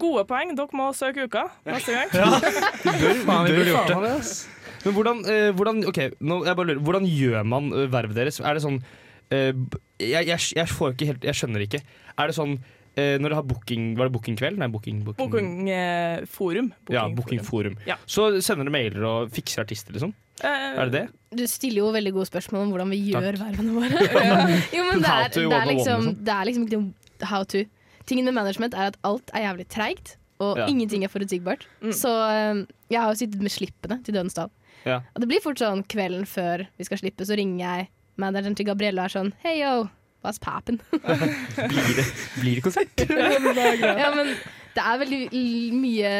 S: gode poeng. Dere må søke uka neste gang.
F: Du bør,
I: Faen, vi
F: du bør
I: burde
F: gjort
I: faen meg
F: det.
I: det,
F: Men hvordan, eh, hvordan, ok, nå, jeg bare lurer, hvordan gjør man eh, vervet deres? Er det sånn eh, b- jeg, jeg, jeg, får ikke helt, jeg skjønner ikke. Er det sånn eh, når dere har booking Var det bookingkveld? Nei, booking, booking,
S: Bookingforum.
F: ja, bookingforum.
S: Ja.
F: Så sender dere mailer og fikser artister, liksom?
S: Eh,
F: er det det?
R: Du stiller jo veldig gode spørsmål om hvordan vi gjør vervene våre. jo, men det
F: How
R: er,
F: to,
R: det, er
F: one on one og
R: liksom,
F: sånn.
R: det er liksom ikke noe how to. Tingen med management er at alt er jævlig treigt, og
F: Ja.
R: ingenting er forutsigbart. Så eh, jeg har jo sittet med slippene til Dødens Dal.
F: Ja.
R: Og det blir fort sånn kvelden før vi skal slippe, så ringer jeg manageren til Gabrielle og er sånn Hei yo, what's pappen?
F: Blir det, blir det konsert?
R: ja, men det er veldig l- mye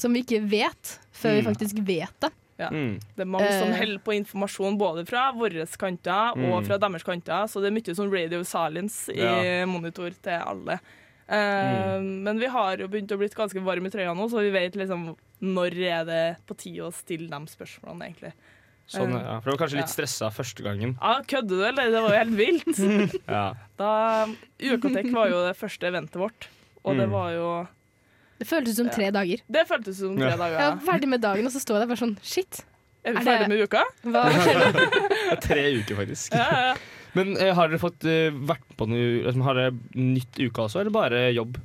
R: som vi ikke vet, før vi
F: Mm.
R: faktisk vet det.
S: Ja.
Q: Mm.
S: Det er mange som
R: Eh.
S: holder på informasjon både fra våre kanter og
Q: Mm.
S: fra deres kanter, så det er mye sånn radio silence i
Q: Ja. Mm.
S: monitor til alle. Eh, Men vi har jo begynt å bli ganske varme i trøya nå, så vi vet liksom når er det på tide å stille de spørsmålene, egentlig.
Q: Sånn,
S: Eh,
Q: ja. For du var kanskje
S: ja.
Q: litt stressa første gangen.
S: Ja, kødder du, eller? Det var jo helt vilt.
Q: Ja.
S: da UKTEK var jo det første eventet vårt, og det
Q: Mm.
S: var jo
R: Det føltes som tre dager.
S: Det føltes som tre
Q: Ja.
S: dager.
R: Jeg var ferdig med dagen, og så står jeg der bare sånn Shit.
S: Er vi
R: det-
S: ferdig med uka?
R: Hva
Q: Det er Tre uker, faktisk.
S: Ja, ja.
Q: Men eh, har dere fått eh, vært på noe
F: altså,
Q: liksom, Har dere nytt uke også, eller bare jobb?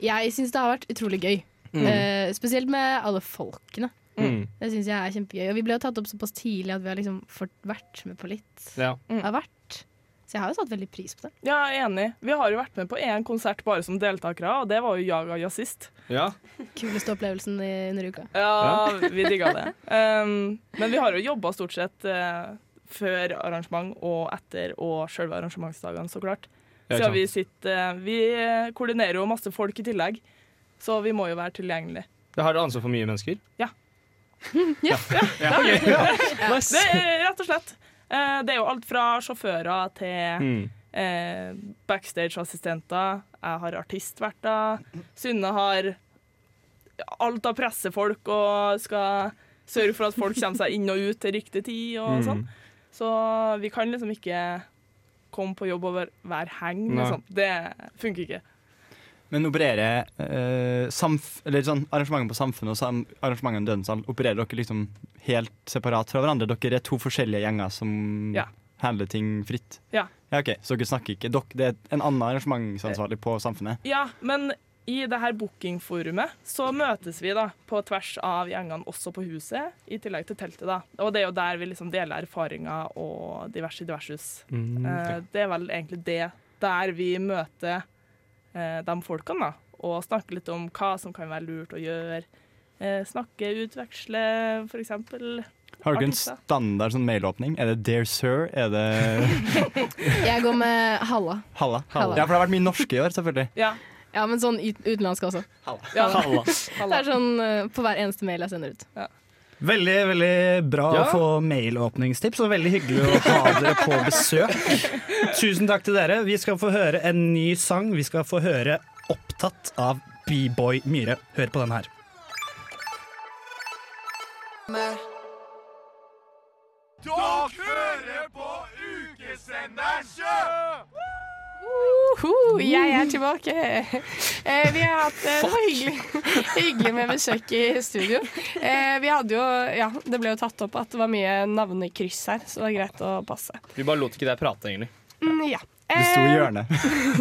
R: Jeg syns det har vært utrolig gøy.
Q: Mm.
R: Eh, spesielt med alle folkene.
Q: Mm.
R: Det syns jeg er kjempegøy. Og vi ble jo tatt opp såpass tidlig at vi har liksom fått vært med på litt
Q: Ja.
S: Mm.
R: av hvert. Så jeg har jo satt veldig pris på det.
S: Ja, jeg er enig. Vi har jo vært med på én konsert bare som deltakere, og det var jo Jaga jazzist.
Q: Ja.
R: Kuleste opplevelsen i, under uka.
S: Ja, vi digga det. Um, men vi har jo jobba stort sett eh, før arrangement og etter og sjølve arrangementsdagene, så klart.
Q: Ja,
S: Siden
Q: ikke
S: vi sitter eh, Vi eh, koordinerer jo masse folk i tillegg, så vi må jo være tilgjengelige.
Q: Det har dere ansvar for mye mennesker?
S: Ja,
Q: ok. Ja. Nice.
S: Det er rett og slett. Eh, Det er jo alt fra sjåfører til
Q: Mm.
S: eh, backstage-assistenter. Jeg har artistverter. Synne har alt av pressefolk og skal sørge for at folk kommer seg inn og ut til riktig tid og
Q: Mm.
S: sånn. Så vi kan liksom ikke komme på jobb og være- være heng,
B: Nei.
S: liksom. Det funker ikke.
B: Men opererer eh, samf eller sånn, arrangementene på Samfunnet og sam arrangementene i Dødensdal opererer dere liksom helt separat fra hverandre? Dere er to forskjellige gjenger som
S: Ja.
B: handler ting fritt?
S: Ja.
B: ok, Så dere snakker ikke dere, Det er en annen arrangementsansvarlig på Samfunnet?
S: Ja, men i det her bookingforumet så møtes vi da på tvers av gjengene også på huset, i tillegg til teltet. da. Og det er jo der vi liksom deler erfaringer og diverse diversus.
Q: Mm,
S: Eh,
Q: ja.
S: Det er vel egentlig det der vi møter eh, de folkene, da. Og snakker litt om hva som kan være lurt å gjøre. Eh, snakke, utveksle, for eksempel.
B: Har dere en
S: artister.
B: standard sånn mailåpning? Er det 'Dear Sir'? Er det
R: Jeg går med halla.
B: Halla?
R: Halla.
B: Ja, for det har vært mye norske i år, selvfølgelig.
S: Ja.
R: men sånn ut- utenlandske også.
S: Ja.
B: Halla.
R: Det er sånn eh, på hver eneste mail jeg sender ut.
I: Veldig veldig bra
R: Ja.
I: å få mailåpningstips, og veldig hyggelig å ha dere på besøk. Tusen takk til dere. Vi skal få høre en ny sang. Vi skal få høre 'Opptatt av B-boy Myhre'. Hør på den her.
M: Dog hører på ukesenderen sjø!
E: Uhu, jeg er tilbake. Eh, Vi har hatt eh, det var hyggelig, hyggelig med besøk i studio. Eh, Vi hadde jo, ja, Det ble jo tatt opp at det var mye navnekryss her, så det var greit å passe.
Q: Vi bare lot ikke deg prate, egentlig.
E: Mm, ja.
B: Du sto i
E: Eh,
B: hjørnet.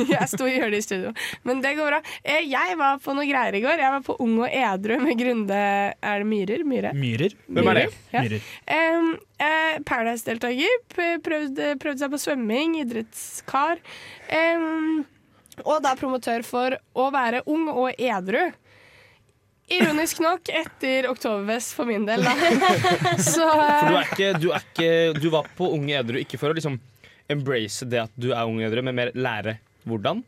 E: jeg sto i hjørnet i studio. Men det går bra. Eh, Jeg var på noe greier i går. Jeg var på Ung og edru med Grunde Er det Myhrer? Myhre?
I: Myhrer.
Q: Hvem er det?
E: Ja. Um, eh, Paradise-deltaker. p- Prøvde, prøvde seg på svømming, idrettskar. Um, og da promotør for å være ung og edru. Ironisk nok etter Oktoberfest for min del, da. Så eh,
Q: For du er ikke Du, er ikke, du var på Unge edru ikke for å liksom embrace det at du er ung edru, men mer lære hvordan.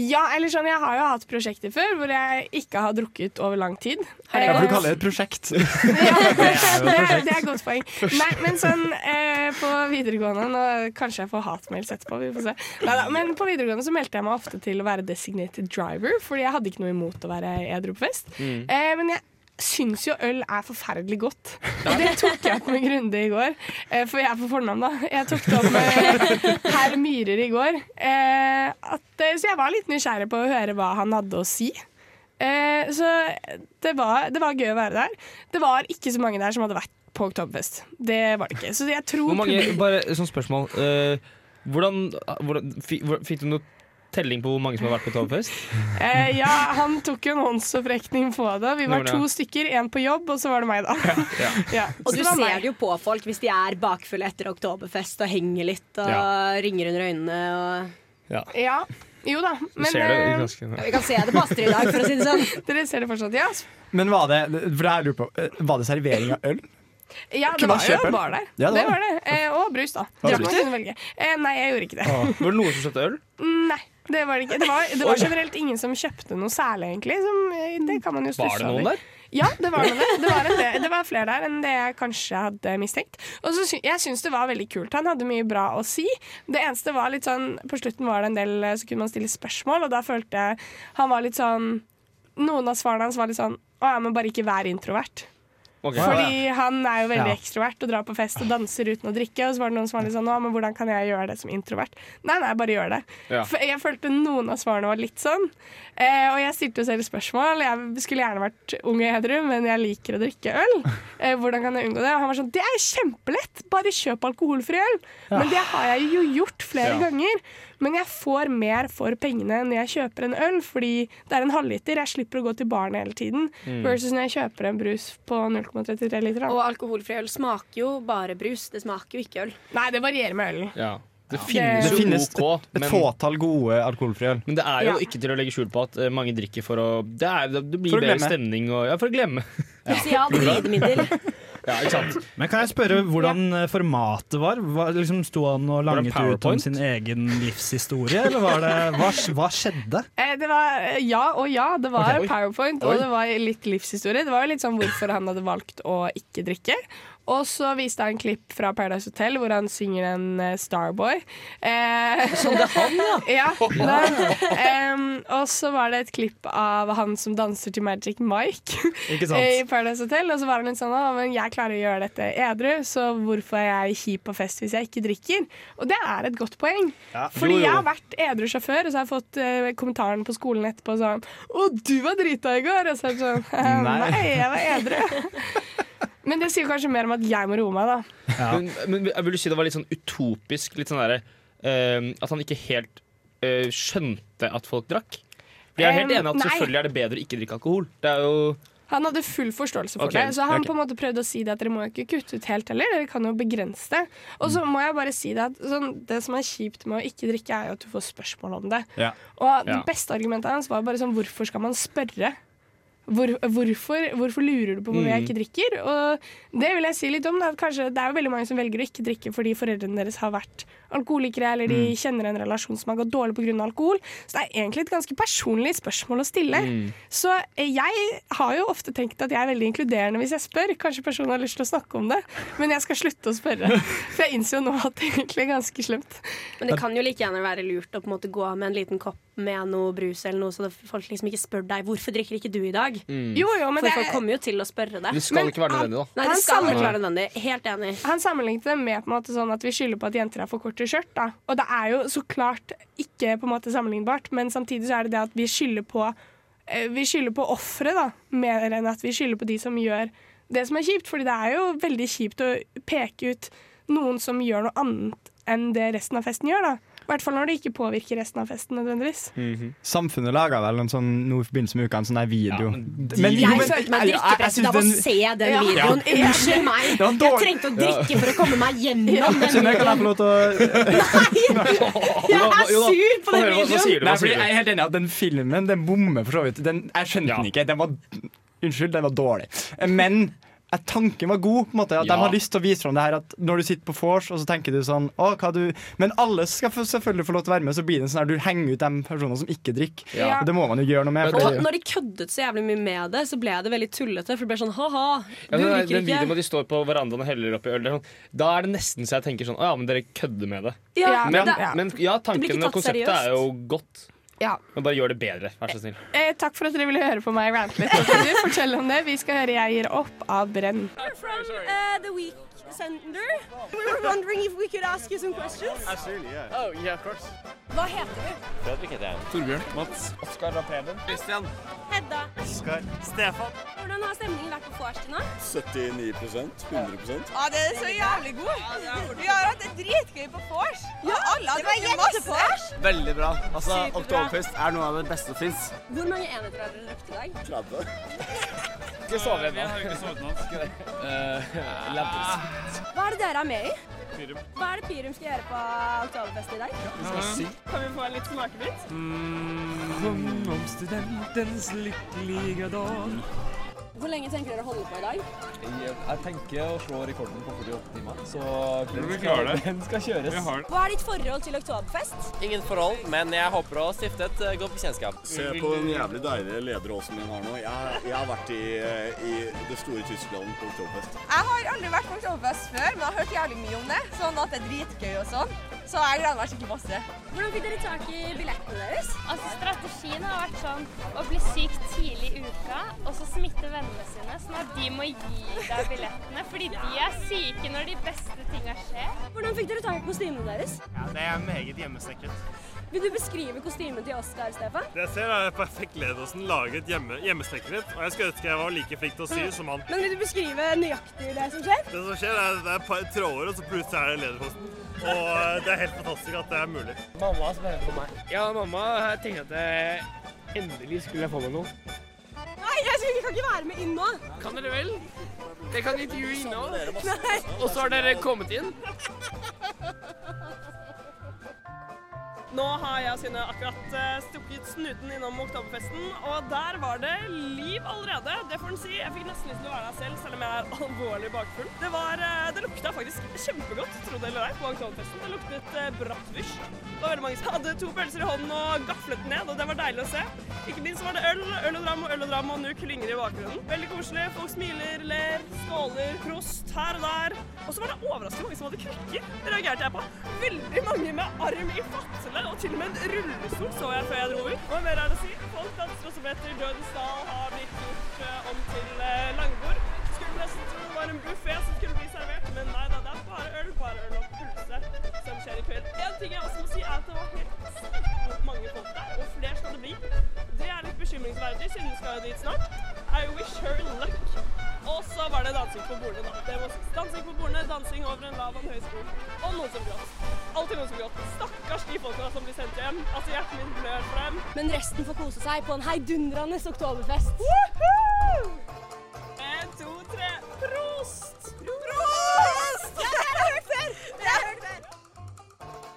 E: Ja, eller sånn, jeg har jo hatt prosjekter før hvor jeg ikke har drukket over lang tid.
B: Ja, for
E: Eh,
B: du kaller det et prosjekt.
E: det, er, det er et godt poeng. Nei, men sånn eh, på videregående nå, Kanskje jeg får hatmails etterpå, vi får se. Neida, men på videregående så meldte jeg meg ofte til å være designated driver, fordi jeg hadde ikke noe imot å være edru på fest.
J: Mm.
E: Eh, men jeg syns jo øl er forferdelig godt. Og det tok jeg opp med Grunde i går, eh, for jeg er på fornavn, da. Jeg tok det opp med herr Myhrer i går. Eh, at, eh, så jeg var litt nysgjerrig på å høre hva han hadde å si. Eh, så det var, det var gøy å være der. Det var ikke så mange der som hadde vært på Oktoberfest. Det var det ikke. Så jeg tror
Q: Hvor mange,
E: publikum-
Q: bare sånn spørsmål. eh, hvordan, hvordan fi- hvor- Fikk du noe telling på hvor mange som har vært på Oktoberfest?
E: eh, Ja, han tok jo en håndsopprekning på det. Vi var
Q: Gjorde det,
E: to
Q: ja.
E: stykker, én på jobb, og så var det meg, da.
Q: Ja.
E: Ja,
N: Og
E: så
N: du
E: det var
N: ser
E: meg.
N: det jo på folk hvis de er bakfulle etter oktoberfest og henger litt og
Q: Ja.
N: ringer under øynene og
Q: Ja.
E: Ja. Jo da, men
Q: ser det
E: eh,
Q: ganske- Ja, vi
N: kan se det på Astrid i dag, for å si det sånn.
E: Dere ser det fortsatt, ja.
B: Men var det, for det her lurer jeg på, eh, var det servering av øl?
E: Ja, det
B: Kunne man
E: var jo
B: kjøpe øl?
E: bar der.
B: Ja, det
E: det
B: var
E: var det. Eh, og brus, da.
B: Og
E: Drakk
B: brus.
E: man kunne velge. Eh, nei, jeg gjorde ikke det.
Q: Var det noen som kjøpte øl?
E: Nei, det var det ikke. Det var, det
Q: Oi.
E: var generelt ingen som kjøpte noe særlig, egentlig. Som, eh, det kan man jo
Q: Var det
E: stusse
Q: noen
E: over.
Q: der?
E: Ja, det var noe det. Det var, en del, det var flere der enn det jeg kanskje hadde mistenkt. Og så sy Jeg syns det var veldig kult. Han hadde mye bra å si. Det eneste var litt sånn På slutten var det en del eh, så kunne man stille spørsmål, og da følte jeg han var litt sånn Noen av svarene hans var litt sånn Å ja, men bare ikke vær introvert.
Q: Ok.
E: Fordi han er jo veldig
Q: Ja.
E: ekstrovert og drar på fest og danser uten å drikke. Og så var det noen som var litt sånn Å, men hvordan kan jeg gjøre det som introvert? Nei, nei, bare gjør det.
Q: Ja.
E: For jeg følte noen av svarene var litt sånn. Eh, og jeg stilte jo selv spørsmål. Jeg skulle gjerne vært ung og edru, men jeg liker å drikke øl. Eh, hvordan kan jeg unngå det? Og han var sånn Det er jo kjempelett! Bare kjøp alkoholfri øl!
Q: Ja.
E: Men det har jeg jo gjort flere
Q: Ja.
E: ganger. Men jeg får mer for pengene når jeg kjøper en øl, fordi det er en halvliter. Jeg slipper å gå til baren hele tiden.
N: Mm.
E: Versus når jeg kjøper en brus på 0,33 liter.
N: Og alkoholfri øl smaker jo bare brus. Det smaker jo ikke øl.
E: Nei, det varierer med ølen.
F: Ja. Det
E: Ja. Det
F: finnes jo
B: finnes
F: OK,
B: et fåtall gode alkoholfrie øl.
F: Men det er jo
E: Ja.
F: ikke til å legge skjul på at eh, mange drikker for å Det, er, det blir
B: For å
F: bedre
B: glemme.
F: stemning og Ja, for å glemme.
N: Sosialt glidemiddel.
F: Ja, ikke sant?
I: Men kan jeg spørre hvordan eh, formatet var? Hva, liksom Sto han og
F: Var det
I: langet ut om
F: PowerPoint?
I: sin egen livshistorie, eller var det, hva, hva skjedde?
E: Eh, Det var eh, ja og ja. Det var
I: Ok, oi.
E: Powerpoint
I: Oi.
E: og det var litt livshistorie. Det var jo litt sånn hvorfor han hadde valgt å ikke drikke. Og så viste han klipp fra Paradise Hotel hvor han synger en eh, Starboy. Eh,
M: Så Sånn, det er han, ja?
E: ja. da- em, og så var det et klipp av han som danser til Magic Mike
M: Ikke sant?
E: i Paradise Hotel. Og så var han litt sånn Å, men jeg klarer å gjøre dette edru, så hvorfor er jeg kjip på fest hvis jeg ikke drikker? Og det er et godt poeng.
M: Ja.
E: Fordi
M: Jo, jo.
E: jeg har vært edru sjåfør, og så har jeg fått eh, kommentaren på skolen etterpå sånn Å, du var drita i går! Og så er det sånn «Eh,
F: Nei.
E: Nei, jeg var edru. Men det sier kanskje mer om at jeg må roe meg, da.
F: Men, men jeg vil du si det var litt sånn utopisk? Litt sånn derre eh, At han ikke helt eh, skjønte at folk drakk? Jeg er helt
E: Em,
F: enig at
E: Eh, nei.
F: selvfølgelig er det bedre å ikke drikke alkohol. Det er jo
E: Han hadde full forståelse for
F: Ok,
E: det, så han
F: ok.
E: på en måte prøvde å si det at dere må jo ikke kutte ut helt heller, dere kan jo begrense det. Og så må jeg bare si det at sånn, det som er kjipt med å ikke drikke, er jo at du får spørsmål om det.
M: Ja.
E: Og
M: Ja.
E: det beste argumentet hans var bare sånn Hvorfor skal man spørre? Hvor, hvorfor, hvorfor lurer du på hvorfor jeg
M: Mm.
E: ikke drikker? Og det vil jeg si litt om. Da. at Kanskje det er jo veldig mange som velger å ikke drikke fordi foreldrene deres har vært alkoholikere, eller de
M: Mm.
E: kjenner en relasjon som har gått dårlig pga. alkohol. Så det er egentlig et ganske personlig spørsmål å stille.
M: Mm.
E: Så eh, jeg har jo ofte tenkt at jeg er veldig inkluderende hvis jeg spør. Kanskje personen har lyst til å snakke om det, men jeg skal slutte å spørre. For jeg innser jo nå at det egentlig er ganske slemt.
N: Men det kan jo like gjerne være lurt å på en måte gå av med en liten kopp med noe brus eller noe, så det- folk liksom ikke spør deg hvorfor drikker ikke du i dag.
F: Mm.
E: Jo, jo, men
N: For
E: det-
N: folk kommer jo til å spørre deg.
F: Det skal Men ikke være nødvendig, da.
N: Nei,
E: han
N: det skal ikke
E: sammenligner-
N: være nødvendig. Helt enig.
E: Han sammenlignet det med på en måte sånn at vi skylder på at jenter har for korte skjørt. Da. Og det er jo så klart ikke på en måte sammenlignbart, men samtidig så er det det at vi skylder på eh, Vi skylder på offeret, da, mer enn at vi skylder på de som gjør det som er kjipt. Fordi det er jo veldig kjipt å peke ut noen som gjør noe annet enn det resten av festen gjør, da. I hvert fall når det ikke påvirker resten av festen nødvendigvis.
B: Samfunnet laga vel en sånn, noe i forbindelse med uka, en sånn der video.
F: men
B: Men- jo,
N: jeg
B: men-
N: følte meg
B: jeg- jeg- jeg
N: drikkepresset
B: synes
N: av å
B: den-
N: se den
B: Ja.
N: videoen.
B: Ja.
N: Unnskyld meg.
B: Det var en
N: Jeg
B: dårlig-
N: trengte å drikke for å komme meg gjennom den
B: Synne, kan jeg få
N: videoen.
B: lov til å
N: Jeg er sur på den
B: Nei,
N: videoen.
B: fordi jeg er helt enig i at den filmen den bommer for så vidt. Den, jeg skjønte den ikke. Den var, unnskyld, den var dårlig. Men eh, tanken var god. på en måte At De
F: Ja.
B: har lyst til å vise fram det her at når du sitter på vors og så tenker du sånn å, hva du Men alle skal få, selvfølgelig få lov til å være med, så blir det en sånn her du henger ut de personene som ikke drikker.
N: Ja.
B: Og Det må man jo gjøre noe med.
N: Og
B: fordi-
N: når de køddet så jævlig mye med det, så ble det veldig tullete. For det ble sånn ha-ha, du
F: Ja, den,
N: drikker
F: den videoen
N: ikke.
F: hvor de står på verandaen og heller oppi øl, det er sånn, da er det nesten så jeg tenker sånn Å ja, men dere kødder med det.
E: Ja,
F: men,
E: det-
F: men ja,
E: det blir ikke
F: tanken og
E: tatt
F: konseptet
E: seriøst.
F: er jo godt.
E: Ja.
F: Men bare gjør det bedre, vær så snill.
E: Eh, takk for at dere ville høre på meg rante litt. Kan du fortelle om det? Vi skal høre 'Jeg gir opp' av Brenn.
M: From
U: uh, the week sender. We were wondering if we could ask you some questions.
M: Absolutely, yeah. Oh, yeah, of course.
U: Hva heter du?
M: Fredrik heter jeg. Torbjørn. Mats. Oskar og Preben. Christian.
U: Hedda.
M: Oskar. Stefan.
U: Hvordan har stemningen vært på vorset nå?
M: 79 100
U: Ja, det er så jævlig god. Vi har hatt det dritgøy på vors. Ja, alle
M: det var
U: jettevors.
V: Veldig bra. Altså,
U: Superbra.
V: Oktoberfest er noe av det beste som fins.
U: Hvor mange enheter har dere drukket i dag?
V: 30.
M: Ikke sove ennå. Jeg har ikke sovet
S: Eh,
U: Hva er det dere er med i?
M: Pyrum.
U: Hva er det Pyrum skal gjøre på oktoberfest i dag?
M: vi skal synge.
U: Kan vi få en litt smakebit?
M: Sjung om studentens lykkelige dag.
G: Hvor lenge tenker dere å holde på i dag?
W: Jeg, jeg tenker å slå rekorden på 48 timer, så
S: Men vi klarer det.
W: den skal kjøres.
S: Vi har
G: Hva er ditt forhold til Oktoberfest?
S: Ingen forhold, men jeg håper å stifte et eh, godt bekjentskap.
X: Se på den jævlig deilige lederåsen min har nå. Jeg, jeg har vært i, eh, i det store Tyskland på Oktoberfest.
Q: Jeg har aldri vært på Oktoberfest før, men jeg har hørt jævlig mye om det. Sånn at det er dritgøy og sånn. Så jeg gleder meg skikkelig masse.
G: Hvordan fikk dere tak i billettene deres?
R: Altså, strategien har vært sånn å bli syk tidlig i uka, og så smitte vennene sine, sånn at de må gi deg billettene, fordi de er syke når de beste tinga skjer.
G: Hvordan fikk dere tak i kostymene deres?
Y: Ja, det er meget hjemmesnekret.
G: Vil du beskrive kostymet til Oskar, Stefan?
Y: Det jeg ser er perfekt Ledersen laget hjemme, hjemmesnekret, og jeg skulle ønske jeg var like flink til å sy som han.
G: Men vil du beskrive nøyaktig det som skjer?
Y: Det som skjer, er det er et par tråder, og så plutselig er det lederposten. Og eh, det er helt fantastisk at det er mulig.
S: Mamma som heter på meg. Ja, mamma tenkte at jeg endelig skulle jeg få meg noe.
G: Nei, jeg skal- jeg kan ikke være med inn nå.
S: Kan dere vel? Det kan intervjue inne også.
G: Nei.
S: Og så har dere kommet inn.
C: Nå har jeg og Synne akkurat eh, stukket snuten innom Oktoberfesten, og der var det liv allerede. Det får en si. Jeg fikk nesten lyst til å være der selv, selv om jeg er alvorlig bakfull. Det, var, eh, det lukta faktisk kjempegodt, tro det eller ei, på Oktoberfesten. Det luktet eh, bratwurst. Det var veldig mange som hadde to pølser i hånden og gaflet den ned, og det var deilig å se. Ikke minst var det øl, øl og dram og øl og dram, og nu klynger det i bakgrunnen. Veldig koselig. Folk smiler, ler, skåler, prost her og der. Og så var det overraskende mange som hadde krykker. Det reagerte jeg på. Veldig mange med arm i fatle, og til og med en rullestol så jeg før jeg dro ut. Hva mer er det å si? Folk danser også etter Dødens Dal har blitt gjort eh, om til eh, langbord. Skulle nesten tro det var en buffé som skulle bli servert, men nei da, det er bare øl, bare øl og pølse som skjer i kveld. En ting jeg også må si er at det var helt sykt mange folk der, og flere skal det bli. Det er litt bekymringsverdig, siden vi skal jo dit snart. I wish her luck. Og så var det dansing på bordene, da. Det må sies. Dansing på bordene, dansing over en lav og en høy sko. Og noen som gråt. Alltid noen som gråt. Stakkars de folka som blir sendt hjem. Altså, hjertet mitt blør for dem.
G: Men resten får kose seg på en heidundrende oktoberfest.
C: En, to, tre. Prost!
Q: Prost! Ja, det har jeg hørt før! Det har jeg hørt før.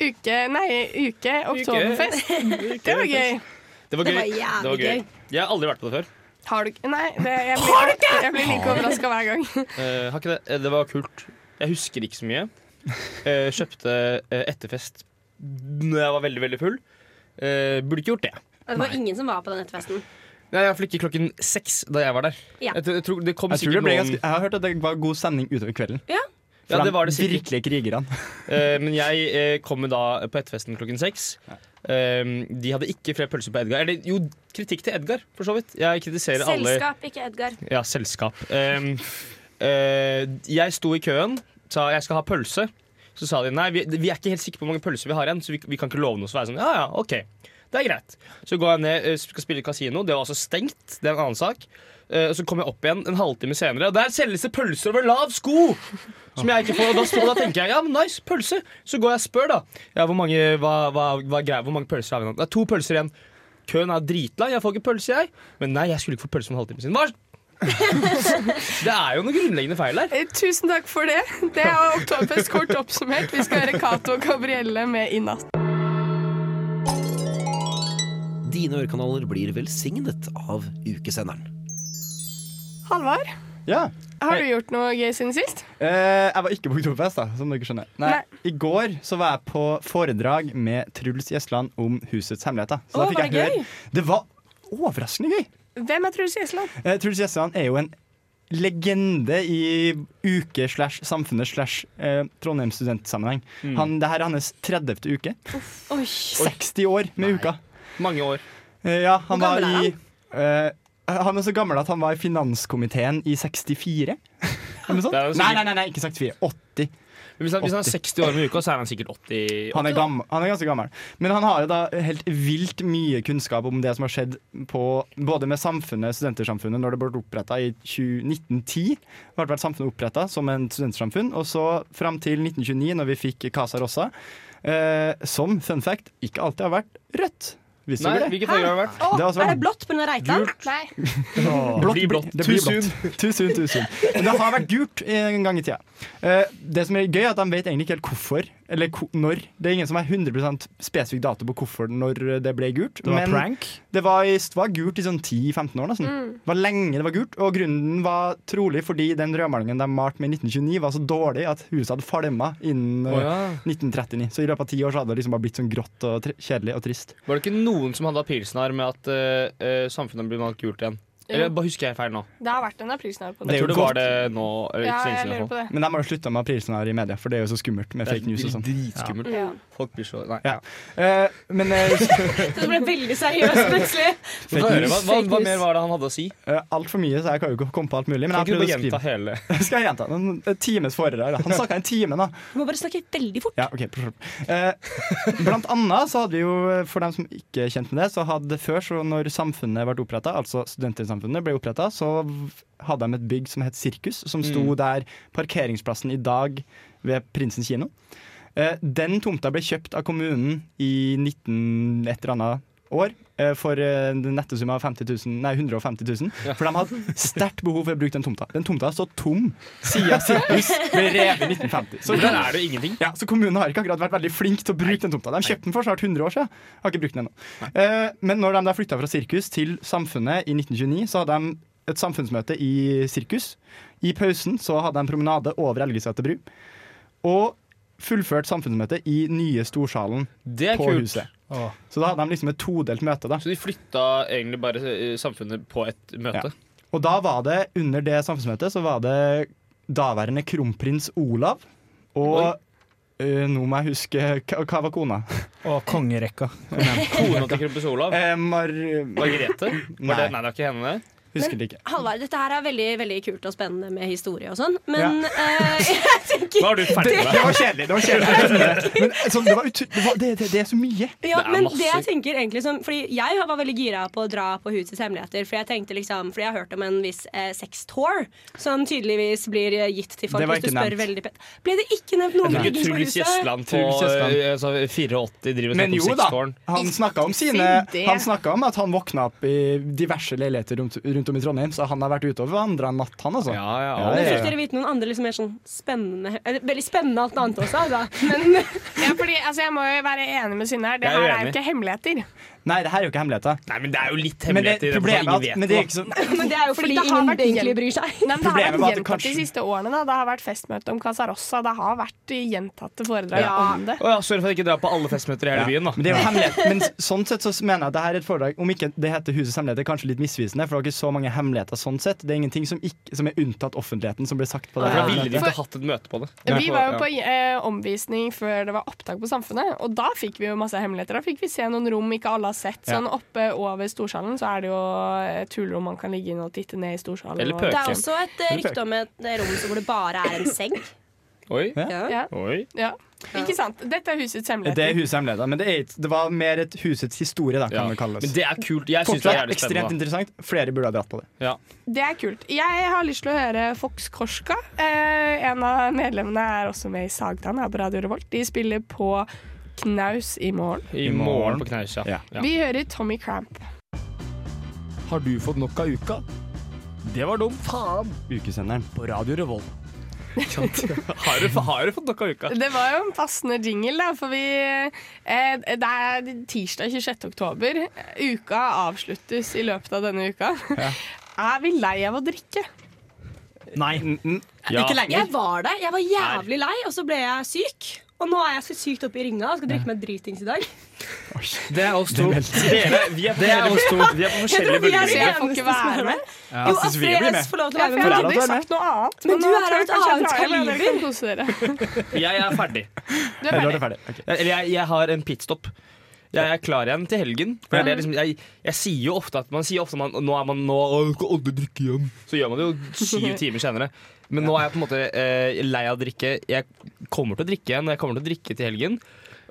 E: Uke, nei, uke oktoberfest.
F: Uke.
E: Det var gøy.
F: Det var gøy.
E: Det var jævlig gøy.
F: Jeg har aldri vært på det før.
E: Har du ikke Nei, det, jeg blir, jeg blir like overraska hver gang.
F: Eh, har ikke det. Eh, det var kult. Jeg husker ikke så mye. Eh, kjøpte eh, etterfest når jeg var veldig, veldig full. Eh, burde ikke gjort det.
K: Og det var ingen som var på den nettfesten.
F: Nei, Iallfall ikke klokken seks da jeg var der.
K: Ja.
F: Jeg, tror- jeg tror det kom
B: Jeg, tror det
F: sikkert
B: ble
F: noen
B: ganske, jeg har hørt at det var god stemning utover kvelden.
K: Ja.
B: For
F: Ja,
B: de
F: det var det sikkert.
B: virkelige krigerne.
F: Eh, Men jeg eh, kom jo da på etterfesten klokken seks. Eh, de hadde ikke flere pølser på Edgar. Eller jo, kritikk til Edgar, for så vidt. Jeg kritiserer alle
K: Selskap, ikke Edgar.
F: Ja, selskap. Ehm, eh, jeg sto i køen, sa jeg skal ha pølse. Så sa de nei, vi, vi er ikke helt sikre på hvor mange pølser vi har igjen, så vi, vi kan ikke love noe. Så var jeg sånn, ja, ja, ok, det er greit. Så går jeg ned, eh, skal spille kasino, det var også stengt, det er en annen sak. Eh, og så kommer jeg opp igjen en halvtime senere, og der selges det pølser over lav sko! Som jeg ikke får, og da, står- da tenker jeg, ja, men nice, pølse. Så går jeg og spør da, ja, hvor mange, hva, hva, hva er greia, hvor mange pølser har vi nå? Det er to pølser igjen. Køen er dritlang, jeg får ikke pølse jeg. Men nei, jeg skulle ikke få pølse for en halvtime siden. Hva? Det er jo noe grunnleggende feil der.
E: Eh, Tusen takk for det. Det er Oktoberfest kort oppsummert. Vi skal høre Cato og Gabrielle med I natt.
A: Dine ørekanaler blir velsignet av ukesenderen.
E: Halvard,
B: Ja.
E: har du gjort noe gøy siden sist?
B: Eh, jeg var ikke på Oktoberfest, da, som dere skjønner. Nei, I går så var jeg på foredrag med Truls Gjesland om husets hemmeligheter.
E: Å,
B: Så da fikk
E: var
B: jeg
E: det
B: høre
E: gøy?
B: Det var overraskende gøy.
E: Hvem er Truls Gjesland?
B: Eh, Truls Gjesland er jo en legende i uke slash samfunnet slash eh, Trondheim studentsammenheng.
F: Mm.
B: Han, det her er hans 30. uke. 60 år med uka.
F: Mange år.
B: Eh, ja, han
F: Hvor
B: var
F: gammel er
B: i eh, Han er så gammel at han var i finanskomiteen i 64. Eller noe sånt?
F: Det er
B: Nei,
F: jo sikkert-
B: nei, nei, nei, ikke 64. 80.
F: Hvis han, hvis han er 60 år med uka, så er han sikkert 80.
B: Han er, gammel, han er ganske gammel. Men han har jo da helt vilt mye kunnskap om det som har skjedd på, både med samfunnet, studentersamfunnet, når det ble oppretta i 20, 1910. Det ble samfunnet oppretta som en studentsamfunn, og så fram til 1929, når vi fikk Casa Rossa, eh, som, fun fact, ikke alltid har vært rødt. Visste
F: Nei,
B: dere det?
F: hvilket farge har det vært?
B: har
K: Å,
B: også vært
K: er det blått på den Reitan? Nei.
B: Blått,
F: blir blått.
B: Det blir
F: Too
B: blått. Too soon, Eh, too soon. Men det har vært gult en gang i tida. Eh, Det som er gøy, er at de vet egentlig ikke helt hvorfor Eller ko- når. Det er ingen som er 100 spesifikk dato på hvorfor når det ble gult.
I: Det var prank?
B: Det var, i- det var gult i sånn 10-15 år. nesten.
I: Mm.
B: Det var lenge det var gult. Og grunnen var trolig fordi den rødmalingen de malte med i 1929, var så dårlig at huset hadde falma innen eh,
F: Å ja.
B: 1939. Så i løpet av ti år så hadde det liksom bare blitt sånn grått og tr kjedelig og trist.
F: Var det ikke noen som hadde aprilsnarr med at eh, eh, samfunnet blir malt gult igjen?
E: Jo.
F: Eller bare husker jeg feil nå?
E: Det har vært en aprilsnarr på
F: Jeg tror det var det nå. eller
E: Ja,
F: ikke så lenge
E: jeg
F: siden i
E: lurer
F: hvert fall.
E: på det.
B: Men de har jo slutta med aprilsnarr i media, for det er jo så skummelt med
F: Det er
B: fake news og sånn.
F: dritskummelt.
B: Ja.
F: Folk blir så Nei.
B: Eh, men eh,
G: Det ble veldig seriøst plutselig.
F: Få høre, hva, hva, hva mer var det han hadde å si?
B: Uh, Altfor mye, så jeg kan jo ikke komme på alt mulig. Men
F: Kan
B: jeg
F: ikke du
B: prøvde å
F: bare gjenta
B: skrive.
F: hele?
B: Skal jeg gjenta? En en times foredrag. da. Han snakka en time, da.
G: Du må bare snakke veldig fort.
B: Ja, ok. Eh, blant annet så hadde vi jo, for dem som ikke er kjent med det, så hadde før, så når samfunnet ble oppretta, altså studentsamfunnet ble oppretta, så hadde de et bygg som het Sirkus, som sto
F: Mm.
B: der parkeringsplassen i dag ved Prinsen kino. Eh, den tomta ble kjøpt av kommunen i 19 et eller annet år. eh, For eh, den nette sum av 50 000, nei, 150 000. For de hadde sterkt behov for å bruke den tomta. Den tomta har stått tom siden sirkus ble revet i 1950.
F: Der er det jo ingenting.
B: Ja, så kommunen har ikke akkurat vært veldig flink til å bruke den tomta. De kjøpte den for snart 100 år siden. Har ikke brukt den ennå. Eh, men når de da flytta fra sirkus til Samfunnet i 1929, så hadde de et samfunnsmøte i sirkus. I pausen så hadde de promenade over Elgeseter bru. Og fullført samfunnsmøtet i nye Storsalen
F: Det er
B: på
F: kult.
B: huset. Så da hadde de liksom et todelt møte, da.
F: Så de flytta egentlig bare eh, samfunnet på et møte.
B: Og da var det, under det samfunnsmøtet, så var det daværende kronprins Olav og eh, nå må jeg huske Hva hva var kona?
I: Og kongerekka.
F: Kona til Krumpus Olav.
B: Eh, Mar
F: Margrethe? Var det, nei, det er ikke henne.
B: Husker det ikke.
G: Halvard, dette her er veldig, veldig kult og spennende med historie og sånn, men eh, jeg tenker
F: Nå er du ferdig med
B: Det var kjedelig. Det var kjedelig. Men sånn, det, var ut, det, var, det, det, det er så mye.
G: Ja, men det jeg tenker egentlig som Fordi jeg var veldig gira på å dra på Husets hemmeligheter. For jeg tenkte liksom Fordi jeg har hørt om en viss eh, sextour som tydeligvis blir eh, gitt til folk
F: Det var
G: hvis du
F: ikke
G: spør
F: nevnt.
G: veldig pent. Ble det ikke nevnt noen
F: Jeg tror
G: ting på
F: ikke Truls
G: huset?
F: Gjesland på
B: Truls Gjesland.
F: eh, altså, 84 driver og
B: Men jo
F: snakker om
B: da,
F: sextårn.
B: han snakka om sine
F: det.
B: Han snakket om at han våkna opp i diverse leiligheter rundt, rundt om i Trondheim, så han har vært ute og vandra natt, han altså. Ja,
G: Men
B: ja,
G: fikk
B: ja.
G: dere vite noen andre liksom mer sånn spennende eller, Veldig spennende alt annet også, altså. Men
E: Ja, fordi, altså, jeg må jo være enig med Synne her. Det
B: Jeg er
E: her er jo
B: uenig.
E: ikke hemmeligheter.
B: Nei, det her er jo ikke hemmeligheter.
F: Nei, men det er jo litt
B: Men
F: hemmeligheter i
B: det,
F: det, for
B: problemet
F: ingen
B: er
F: vet
B: at men det er ikke så,
G: Men det er jo fordi
E: det har
G: ingen
E: vært
G: egentlig
E: gjent-
G: bryr seg.
E: Nei, men det har
B: Problemet
E: vært
B: var at det
E: gjentatt de
B: kanskje-
E: siste årene. Da. Det har vært festmøte om Casarossa. Det har vært gjentatte foredrag om det.
F: Å ja, sorry for at jeg ikke drar på alle festmøter i hele byen, da.
B: Men det er jo hemmelighet. Men s- sånn sett så s- mener jeg at det her er et foredrag Om ikke det heter Husets hemmeligheter, kanskje litt misvisende, for det er ikke så mange hemmeligheter sånn sett. Det er ingenting som, ikke, som er unntatt offentligheten, som ble sagt på
F: For
B: det.
F: da ville de
B: foredraget.
F: ikke hatt et møte på det.
E: Vi var jo på eh, omvisning før det var opptak på Samfunnet, og da fikk vi jo masse hemmeligheter. Da fikk vi se noen rom ikke alle har sett. Sånn
F: Ja.
E: Oppe over Storsalen så er det jo et hulrom man kan ligge inn og titte ned i Storsalen.
F: Eller
E: og-
F: pøke.
G: Det er også et eh, rykte om et eh, rom som hvor det bare er en seng.
F: Oi.
E: Ja.
F: Oi.
E: Ja. Ikke sant? Dette er husets hemmeligheter.
B: Det er husets hemmeligheter, men det, er, ikke- det var mer et husets historie, da, kan det kalles.
F: Men det er kult. Jeg syns det er
B: Fortsatt
F: jævlig
B: ekstremt
F: spennende.
B: interessant. Flere burde ha dratt på det.
F: Ja.
E: Det er kult. Jeg har lyst til å høre Fox Korska. Eh, en av medlemmene er også med i Sagtann her på Radio Revolt. De spiller på Knaus i morgen.
F: I morgen på knaus, ja. ja.
E: Vi hører Tommy Cramp.
M: Har du fått nok av uka? Det var dumt. Faen!
B: Ukesenderen.
M: På Radio Revolt.
F: Har du, har du fått nok av uka?
E: Det var jo en passende jingle, da, for vi eh, Det er tirsdag 26. oktober. Uka avsluttes i løpet av denne uka. Er vi lei av å drikke?
B: Nei.
G: Ikke lenger. Jeg var det. Jeg var jævlig lei, og så ble jeg syk. Og nå er jeg så sykt oppe i ringa og skal drikke meg dritings i dag.
Q: Det er oss to.
F: Dere, vi er på,
Q: Det er oss to.
F: Vi er
G: Jeg tror
F: på forskjellige
G: vi er de
F: bølger.
E: Jeg
G: eneste
E: får ikke
G: som
E: være
G: er
E: med.
G: med.
F: Ja.
G: Jo,
F: Jeg synes vi
G: Astrid
F: blir med.
G: S får lov til å
E: Ja,
G: være med.
E: for jeg
F: Men
E: har aldri
F: er det at du er
E: sagt noe annet.
G: Men du
E: nå
G: er
E: tror jeg
G: av et
E: kanskje jeg
G: annet
E: drar hjem, og dere
G: kaliber.
E: kan kose dere.
F: Jeg er ferdig.
E: Du er ferdig.
F: Eller jeg, jeg har en pitstop. Jeg er klar igjen til helgen. For det er det liksom, jeg, jeg sier jo ofte at man sier ofte man, nå er man nå, å, jeg skal aldri drikke igjen. Så gjør man det jo syv timer senere. Men nå er jeg på en måte eh, lei av å drikke. Jeg kommer til å drikke igjen, og jeg kommer til å drikke til helgen.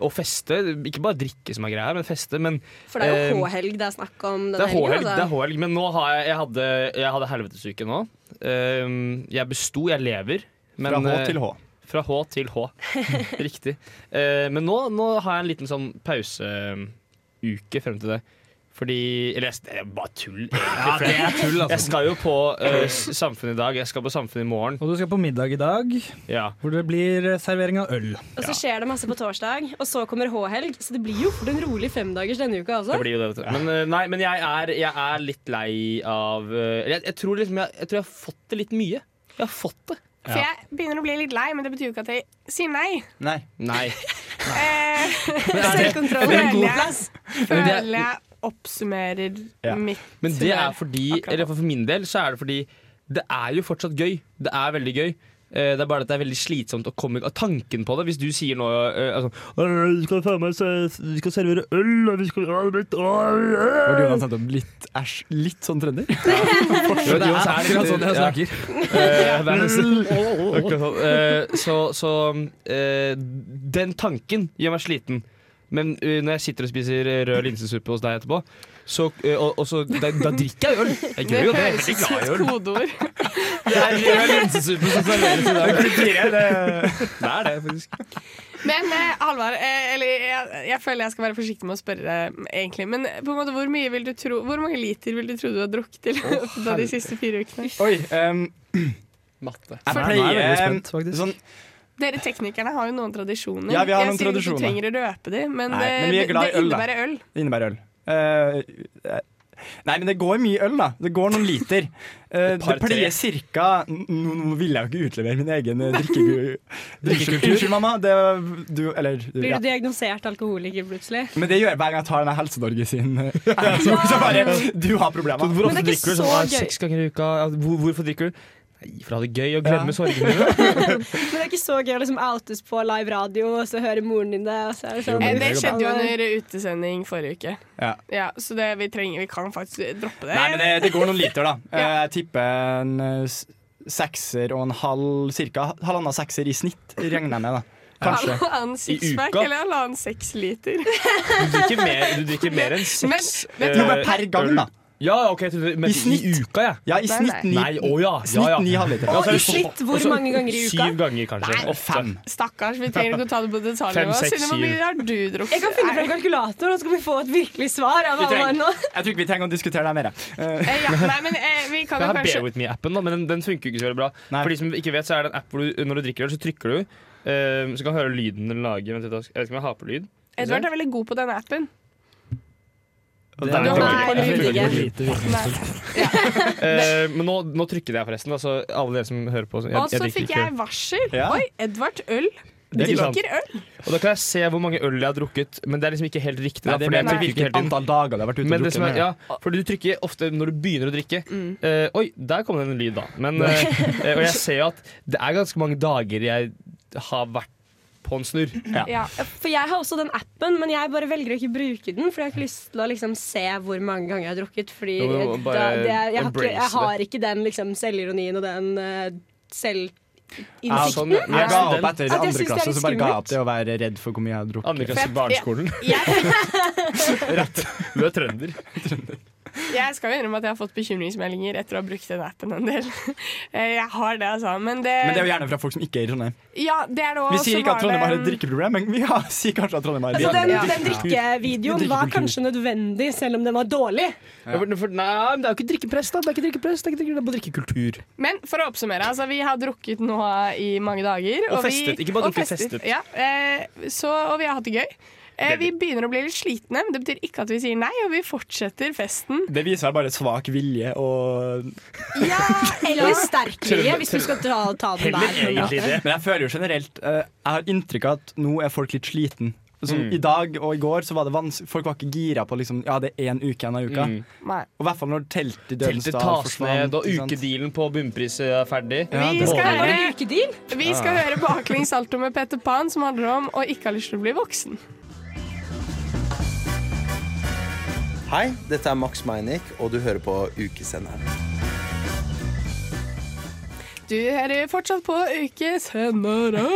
F: Og feste. Ikke bare drikke som er greia, her, men feste. Men,
G: For det er
F: eh,
G: jo H-helg det er snakk om
F: det altså.
G: denne
F: er H-helg,
G: helgen, altså.
F: det er H-helg, men nå har jeg, jeg hadde, jeg hadde helvetesuke nå. Ehm, jeg besto, jeg lever. Men,
B: Fra H
F: eh,
B: til H.
F: Fra H til H. Riktig. Eh, men nå, nå har jeg en liten sånn pauseuke frem til det. Fordi Eller jeg- det er bare tull. egentlig,
I: Ja,
F: for
I: det er
F: jeg-
I: tull, altså.
F: Jeg skal jo på eh, s- Samfunnet i dag. Jeg skal på Samfunnet i morgen.
I: Og du skal på middag i dag, hvor det blir eh, servering av øl.
G: Og så skjer det masse på torsdag, og så kommer H-helg. Så det blir jo fort en rolig femdagers denne uka også.
F: Det blir jo det, vet du. Men, eh, nei, men jeg, er, jeg er litt lei av eh, Eller jeg, jeg, tror liksom jeg, jeg tror jeg har fått det litt mye. Jeg har fått det.
E: For jeg begynner å bli litt lei, men det betyr jo ikke at jeg sier nei.
F: Nei. Nei.
E: Eh,
F: Men er det-
E: Selvkontroll
F: er det en
E: føler
F: god
E: jeg,
F: plass? Men det er-
E: føler jeg oppsummerer
F: Ja.
E: mitt
F: Men det er fordi, eller for min del, så er det fordi det er jo fortsatt gøy. Det er veldig gøy. Eh, Det er bare at det er veldig slitsomt å komme av tanken på det. Hvis du sier nå eh, altså, «Åh, vi skal, faen meg se- vi skal servere øl og vi skal, åh, litt, åh,
B: Var
F: øh».
B: det Jonas nettopp litt, æsj, litt sånn trønder?
F: Jo, det er akkurat sånn jeg snakker. Eh, det er nesten- akkurat sånn. Eh, Så, så eh, den tanken gjør meg sliten. Men eh, når jeg sitter og spiser rød linsesuppe hos deg etterpå, så, eh, og, og så, da, da drikker jeg øl.
E: eh,
F: Jeg gjør jo det. Jeg er veldig glad i øl.
E: kodeord.
F: Det er rød linsesuppe som serveres i dag. Det er det, faktisk.
E: Men eh, Halvard, eh, eller jeg, jeg føler jeg skal være forsiktig med å spørre, eh, egentlig. Men på en måte, hvor mye vil du tro Hvor mange liter vil du tro du har drukket i løpet av de
B: herre-
E: siste fire ukene?
B: Oi. ehm,
F: Matte.
B: Jeg
I: Nei, nå er jeg veldig
B: pleier ehm,
I: spent,
B: sånn
E: Dere teknikerne har jo noen tradisjoner.
B: Ja, vi har
E: jeg
B: noen
E: sier ikke
B: tradisjoner.
E: at du trenger å røpe dem, men,
B: Nei,
E: eh,
B: men vi er
E: det,
B: glad i
E: det
B: øl, da.
E: innebærer øl.
B: Det innebærer øl. Eh, eh, nei, men det går mye øl, da. Det går noen liter. Eh,
F: par
B: det pleier
F: tre.
B: cirka Nå, nå vil jeg jo ikke utlevere min egen eh, drikkeku- drikkekultur.
G: Drikkekultur.
B: Unnskyld, mamma. Det, du, eller, du,
G: Blir
B: ja.
G: du diagnosert alkoholiker plutselig?
B: Men det gjør jeg hver gang jeg tar denne Helse-Norge sin eh, så, så bare Du har problemer.
F: Hvor ofte drikker du sånn ah, seks ganger i uka? Ja, Hvor, hvorfor drikker du? Nei, for å ha det gøy og glemme sorgene mine.
G: Men det er ikke så gøy å liksom outes på live radio, og så hører moren din det. Og så er det sånn
E: Eh, Det skjedde jo under utesending forrige uke.
B: Ja.
E: Ja, så det vi trenger Vi kan faktisk droppe det.
B: Nei, men det, det går noen liter, da. Eh, Jeg tipper en eh, s- sekser og en halv Cirka halvannen sekser i snitt, regner jeg med. da Kanskje.
E: Halvannen sixpack
B: uka?
E: eller halvannen seks liter.
F: Du drikker mer, du drikker mer enn seks
B: Men- Jo, men
F: eh,
B: per gang,
F: øl.
B: da.
F: Ja, ok, jeg trodde-
B: I
F: men
B: snitt.
F: I uka, ja.
B: Ja, i Nei, snitt nei. ni-
F: Nei, å ja. ja, ja.
B: snitt ni halvliter.
F: Ja, så er det
B: Å, i
F: så-
B: snitt, hvor
F: og så-
B: mange ganger i uka?
F: Syv ganger, kanskje.
B: Nei, fem.
E: Stakkars, vi trenger ikke å ta det på
F: Fem,
E: detaljnivå.
F: seks,
E: Synne, hvor mye
F: syv.
E: har du drukket?
G: Jeg kan finne fram kalkulator, og så skal vi få et virkelig svar. av
B: Vi
G: alle
B: trenger,
G: nå.
B: jeg tror ikke vi trenger å diskutere det mer. jeg. Eh,
E: Eh, ja, nei, men eh, vi kan
F: Jeg
E: jo
F: har Bear
E: kanskje
F: With Me-appen, da, men den, den funker jo ikke så veldig bra. For de som ikke vet, så er det en app hvor du, når du drikker øl, så trykker du. eh, så kan du høre lyden den lager. Vent litt, Jeg vet ikke om jeg har på lyd.
E: Edvard er veldig god på denne appen.
F: Det
E: er- Nei, jeg tror ikke.
F: Eh, Men nå, nå trykket jeg forresten, da, så alle dere som hører på. så-
E: Og så
F: drikker
E: fikk
F: ikke
E: jeg
F: øl.
E: varsel.
F: Ja.
E: Oi, Edvard øl.
F: Det er ikke sant.
E: Drikker øl.
F: Og da kan jeg se hvor mange øl jeg har drukket, men det er liksom ikke helt riktig.
B: Nei,
F: Da,
B: det
F: fordi jeg
B: mener
F: trykker
B: hvilket
F: ikke helt inn.
B: antall dager du har vært ute og
F: Men
B: drukket
F: det som er-
B: med.
F: Ja, for du trykker ofte når du begynner å drikke.
E: Mm.
F: Eh, oi, der kom det en lyd, da. Men, eh, eh, og jeg ser jo at det er ganske mange dager jeg har vært på en snurr.
G: Ja. For jeg har også den appen, men jeg bare velger å ikke bruke den. For jeg har ikke lyst til å liksom se hvor mange ganger jeg har drukket. Fordi
F: Jo, men
G: da,
F: må bare
G: det, er- jeg, har ikke, jeg
F: embrace
G: har ikke den liksom selvironien og den eh,
B: Ja, sånn,
G: selvinnsikten.
B: jeg ga opp
G: At
B: etter
G: jeg
B: andre
G: synes det er
B: klasse,
G: litt
B: så bare ga jeg
G: skummelt.
B: opp det å være redd for hvor mye jeg har drukket.
F: Andre klasse barneskolen. Rett. Du er trønder.
E: Jeg skal jo innrømme at jeg har fått bekymringsmeldinger etter å ha brukt den appen en del. Eh, Jeg har det, altså. Men det,
B: Men det er jo gjerne fra folk som ikke er i Trondheim.
E: Ja, det er det også.
B: Vi sier
E: Så
B: ikke at
E: var det
B: Trondheim har
E: en-
B: et drikkeproblem, men vi har, sier kanskje at Trondheim har et
G: Altså, den,
B: drikkeproblem.
G: den drikkevideoen var kanskje nødvendig, selv om den var dårlig.
F: Ja. for- for- Nei, men det er jo ikke drikkepress, da. Det er ikke drikkepress, det er, ikke drikke, det er bare drikkekultur.
E: Men for å oppsummere, altså, vi har drukket nå i mange dager.
F: Og festet.
E: Vi,
F: Ikke bare
E: og
F: drukket, festet.
E: Ja, eh, så, og vi har hatt det gøy. Eh, vi begynner å bli litt slitne, men det betyr ikke at vi sier nei, og vi fortsetter festen.
B: Det viser vel bare svak vilje og
G: Eller sterk vilje, hvis du skal ta, ta den der. på en måte.
B: Men jeg føler jo generelt eh, Jeg har inntrykk av at nå er folk litt sliten. Sånn,
F: Mm.
B: I dag og i går så var det vanskelig Folk var ikke gira på liksom, Ja, det er én uke igjen av uka.
F: Mm.
B: Og i hvert fall når teltet i
F: Teltet
B: Dødensdal
F: tas
B: forsvant.
F: ned, og
B: ikke sant?
F: ukedealen på bunnpris er ferdig.
E: Vi skal
F: Målbildet.
E: høre, vi skal
B: Ah.
F: Ja.
E: høre baklengs salto med Petter Pan, som handler om å ikke ha lyst til å bli voksen.
A: Hei, dette er Max Meinick, og du hører på Ukesenderen.
E: Du hører fortsatt på Ukesenderen.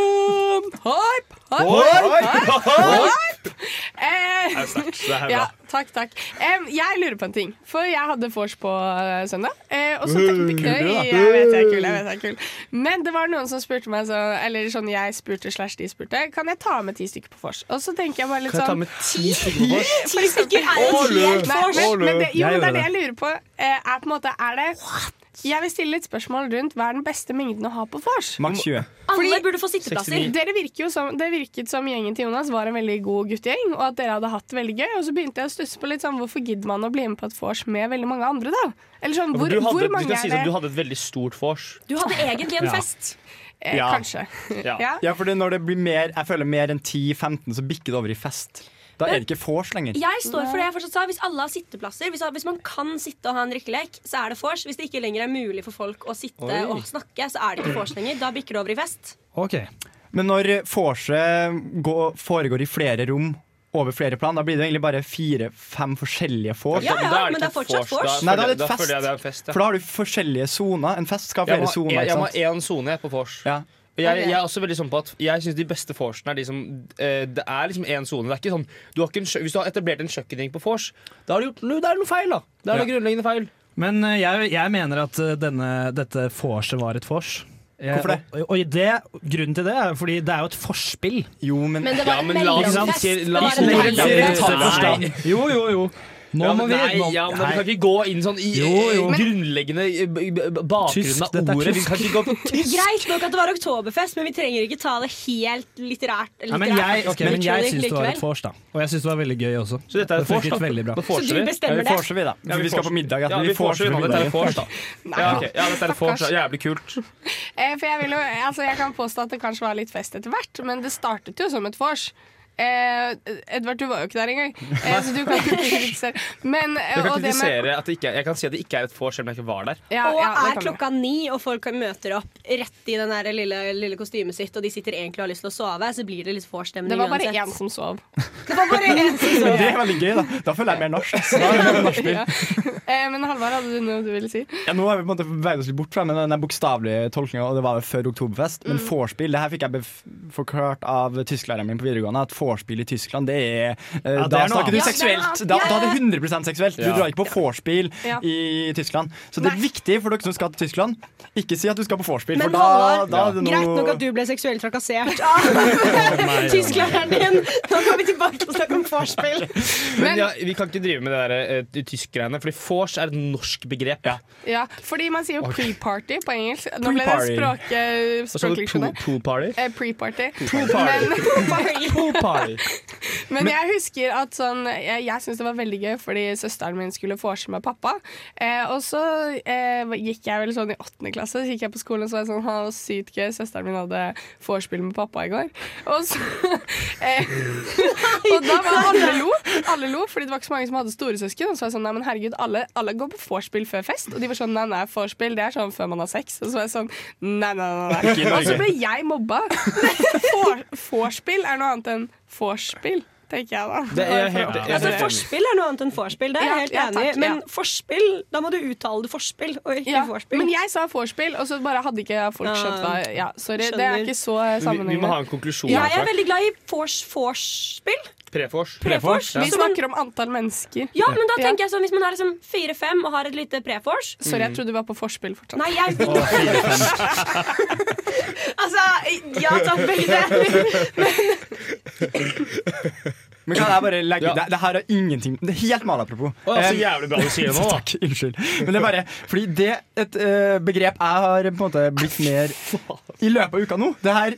E: Hype, hype,
A: Hype,
E: hype, hype!
A: Det er sterkt. Det er
E: ja,
A: bra.
E: Takk, takk. Em, jeg lurer på en ting. For jeg hadde vors på eh, søndag. eh, og så tenkte
S: Kul,
E: jeg
S: da.
E: Jeg vet jeg er kul, jeg vet jeg er kul. Men det var noen som spurte meg sånn, eller sånn jeg spurte slash de spurte, kan jeg ta med ti stykker på vors? Og så tenker jeg bare litt
Z: Kan jeg ta
E: sånn
Z: med ti stykker på vors?
E: For eksempel-
Z: Ti stykker er jo et helt
E: Nei,
Z: vors.
E: men- men det- Jo,
Z: Jeg
E: men det er
Z: gjorde
E: det jeg lurer på. eh, Er på en måte, er det Jeg vil stille litt spørsmål rundt hva er den beste mengden å ha på vors?
B: Maks 20.
E: Alle burde få
B: sitteplasser. 69.
E: Dere virker jo som, det virket som gjengen til Jonas var en veldig god guttegjeng, og at dere hadde hatt det veldig gøy. Og så begynte jeg å stusse på litt sånn, hvorfor gidder man å bli med på et vors med veldig mange andre, da? Eller sånn,
F: Ja,
E: hvor,
F: for du hadde,
E: hvor
F: du
E: mange
F: kan si
E: er det?
F: sånn, du hadde et veldig stort vors.
E: Du hadde egentlig
F: en Ja.
E: fest. Eh,
B: Ja.
E: Kanskje. Ja.
B: Ja, for når det blir mer Jeg føler mer enn 10-15, så bikker det over i fest. Da er det ikke vors lenger.
G: Jeg står for det jeg fortsatt sa. Hvis alle har sitteplasser, hvis, hvis man kan sitte og ha en drikkelek, så er det vors. Hvis det ikke lenger er mulig for folk å sitte
B: Oi.
G: og snakke, så er det ikke vors lenger. Da bikker det over i fest.
B: Men når vorset gå- foregår i flere rom over flere plan, da blir det egentlig bare fire-fem forskjellige vors.
F: Ja, ja, Da er det men ikke det er et fortsatt vors, da. vors.
B: Nei, da er det
F: Da
B: et
F: føler
B: fest.
F: jeg det er en fest, ja.
B: For da har du forskjellige soner. En fest skal ha
F: Jeg må
B: flere
F: ha en-
B: soner.
F: jeg
B: ikke
F: må
B: sant?
F: ha én sone jeg, på vors. Og Jeg,
B: Ok.
F: jeg er også veldig sånn på at Jeg syns de beste vorsene er de som eh, Det er liksom én sone. Det er ikke sånn du har ikke en, kjø- Hvis du har etablert en kjøkkenring på vors, da har du gjort noe, det er noe feil, da. Det er noe
I: Ja.
F: grunnleggende feil.
I: Men eh, jeg, jeg mener at eh, denne, dette vorset var et vors. Jeg-
F: Hvorfor det?
I: Og, og det? Grunnen til det er jo fordi det er jo et forspill.
B: Jo, men,
I: men
F: det var Ja, et men la oss mellomfest. ikke- la oss ikke- Det var et mellomfest.
I: Nei. Jo, jo, jo. Nå
F: Ja,
I: må
F: men
I: vi
F: nei, ja, men Vi kan ikke gå inn sånn i
I: Jo, jo.
F: eh, grunnleggende eh, b- b- bakgrunnen
I: Tysk, dette er
F: av ordet. Vi kan
I: tysk.
F: ikke gå på
G: Greit nok at det var oktoberfest, men vi trenger ikke ta det helt litterært.
I: Nei, men jeg, ok, men jeg syns det var et
G: få
I: vors, da. Og jeg syns det var veldig gøy også.
F: Så dette er et
I: det funket
F: vors, da.
I: veldig bra.
F: Da vorser Så du vi. bestemmer
I: Ja,
F: det?
I: vi vorser vi, da.
F: Ja, vi
I: vi skal
F: vorser.
I: på middag.
F: Ja,
I: Ja,
F: vi
I: vi
F: vorser
I: vorser
F: vi nå. Dette er et vors, da.
E: Nei.
F: Ja, ok. ja, dette er et vors. ja. Jævlig kult.
E: Eh, For jeg, vil jo, altså jeg kan påstå at det kanskje var litt fest etter hvert, men det startet jo som et vors. Eh, Edvard, du var jo ikke der engang, eh, så du kan ikke kritisere. Men, eh,
F: Jeg kan
E: og det med-
F: kritisere at det ikke er, Jeg kan si at det ikke er et vors, selv om jeg ikke var der.
E: Ja,
G: og
E: ja, det
G: er
E: kan vi.
G: klokka ni, og folk møter opp rett i den der lille, lille kostymet sitt, og de sitter egentlig og har lyst til å sove, så blir det litt vorstemning
E: Det var bare
G: uansett.
E: én som sov.
G: Det var bare én som
B: Men
G: sov.
B: det er veldig gøy, da. Da føler jeg mer norsk. ass. Da er det mer nachspiel.
E: Ja. Eh, Men Halvard, hadde du noe du ville si?
B: Ja, nå har vi på en måte veid oss litt bort fra men den bokstavelige tolkninga, og det var jo før Oktoberfest. Men
E: Mm.
B: vorspiel, det her fikk jeg bef- forklart av tysklæreren min på videregående, at vorspiel i Tyskland, det er eh,
I: Ja, det
B: Da
I: er noe
B: snakker du
I: annet.
B: seksuelt!
I: Ja,
B: Da,
I: ja, ja.
B: da er det 100 seksuelt. Du
I: Ja.
B: drar ikke på vorspiel
I: Ja.
B: i Tyskland. Så det er viktig for dere som skal til Tyskland, ikke si at du skal på vorspiel,
G: Men
B: for da,
G: Halvard,
B: da er det
G: greit nok
B: noe
G: at du ble seksuelt trakassert av tysklæreren din. Nå går vi tilbake til å snakke om vorspiel.
F: Men ja, vi kan ikke drive med det der eh, tysk-greiene, fordi vors er et norsk begrep.
E: Ja, fordi man sier jo pre-party på engelsk. Nå ble det
F: Pre-party.
E: språk, eh, språkleksjon her.
F: pool-party?
E: Eh, Pre-party.
F: Pool-party.
E: Men-
F: Pool-party.
E: Men jeg husker at sånn Jeg, jeg syntes det var veldig gøy fordi søsteren min skulle vorse med pappa. Eh, og så eh, gikk jeg vel sånn i åttende klasse, så gikk jeg på skolen og så var jeg sånn Ha, sykt gøy. Søsteren min hadde vorspiel med pappa i går. Og så eh, Og da var alle lo. Alle lo, fordi det var ikke så mange som hadde storesøsken. Og så var jeg sånn Nei, men herregud, alle, alle går på vorspiel før fest. Og de var sånn Nei, nei, vorspiel det er sånn før man har sex. Og så var jeg sånn Nei, nei, nei.
F: Ikke i
E: nei. Og
F: Norge.
E: så ble jeg mobba. For- Vorspiel er noe annet enn vorspiel, tenker jeg da.
F: Det er helt-
E: Ja.
G: Altså, Forspill er noe annet enn vorspiel, det er jeg
E: Ja,
G: helt
E: ja,
G: enig i.
E: takk,
G: Men
E: ja.
G: forspill, da må du uttale det forspill, og ikke
E: Ja,
G: vorspiel. Ah,
E: men jeg sa vorspiel, og så bare hadde ikke folk skjønt hva Ja, sorry, det er
G: Skjønner.
E: ikke så eh,
F: Vi, vi må ha
E: sammenhengende.
F: en konklusjon.
G: Ja, jeg er veldig glad i vors, vorspiel.
F: Prefors.
G: Prefors.
E: Vi snakker om antall mennesker.
G: Ja, men da tenker jeg sånn, hvis man er liksom fire-fem og har et lite prefors
E: Sorry, jeg trodde du var på vorspiel fortsatt.
G: Nei, jeg Altså, ja takk, veldig.
B: Men kan jeg bare legge det, det her er ingenting Det er helt mal apropos.
F: Å, ja, så
B: Eh,
F: jævlig bra du sier det nå, da.
B: Takk, unnskyld. Men det er bare fordi det et eh, begrep jeg har på en måte blitt mer i løpet av uka nå. Det her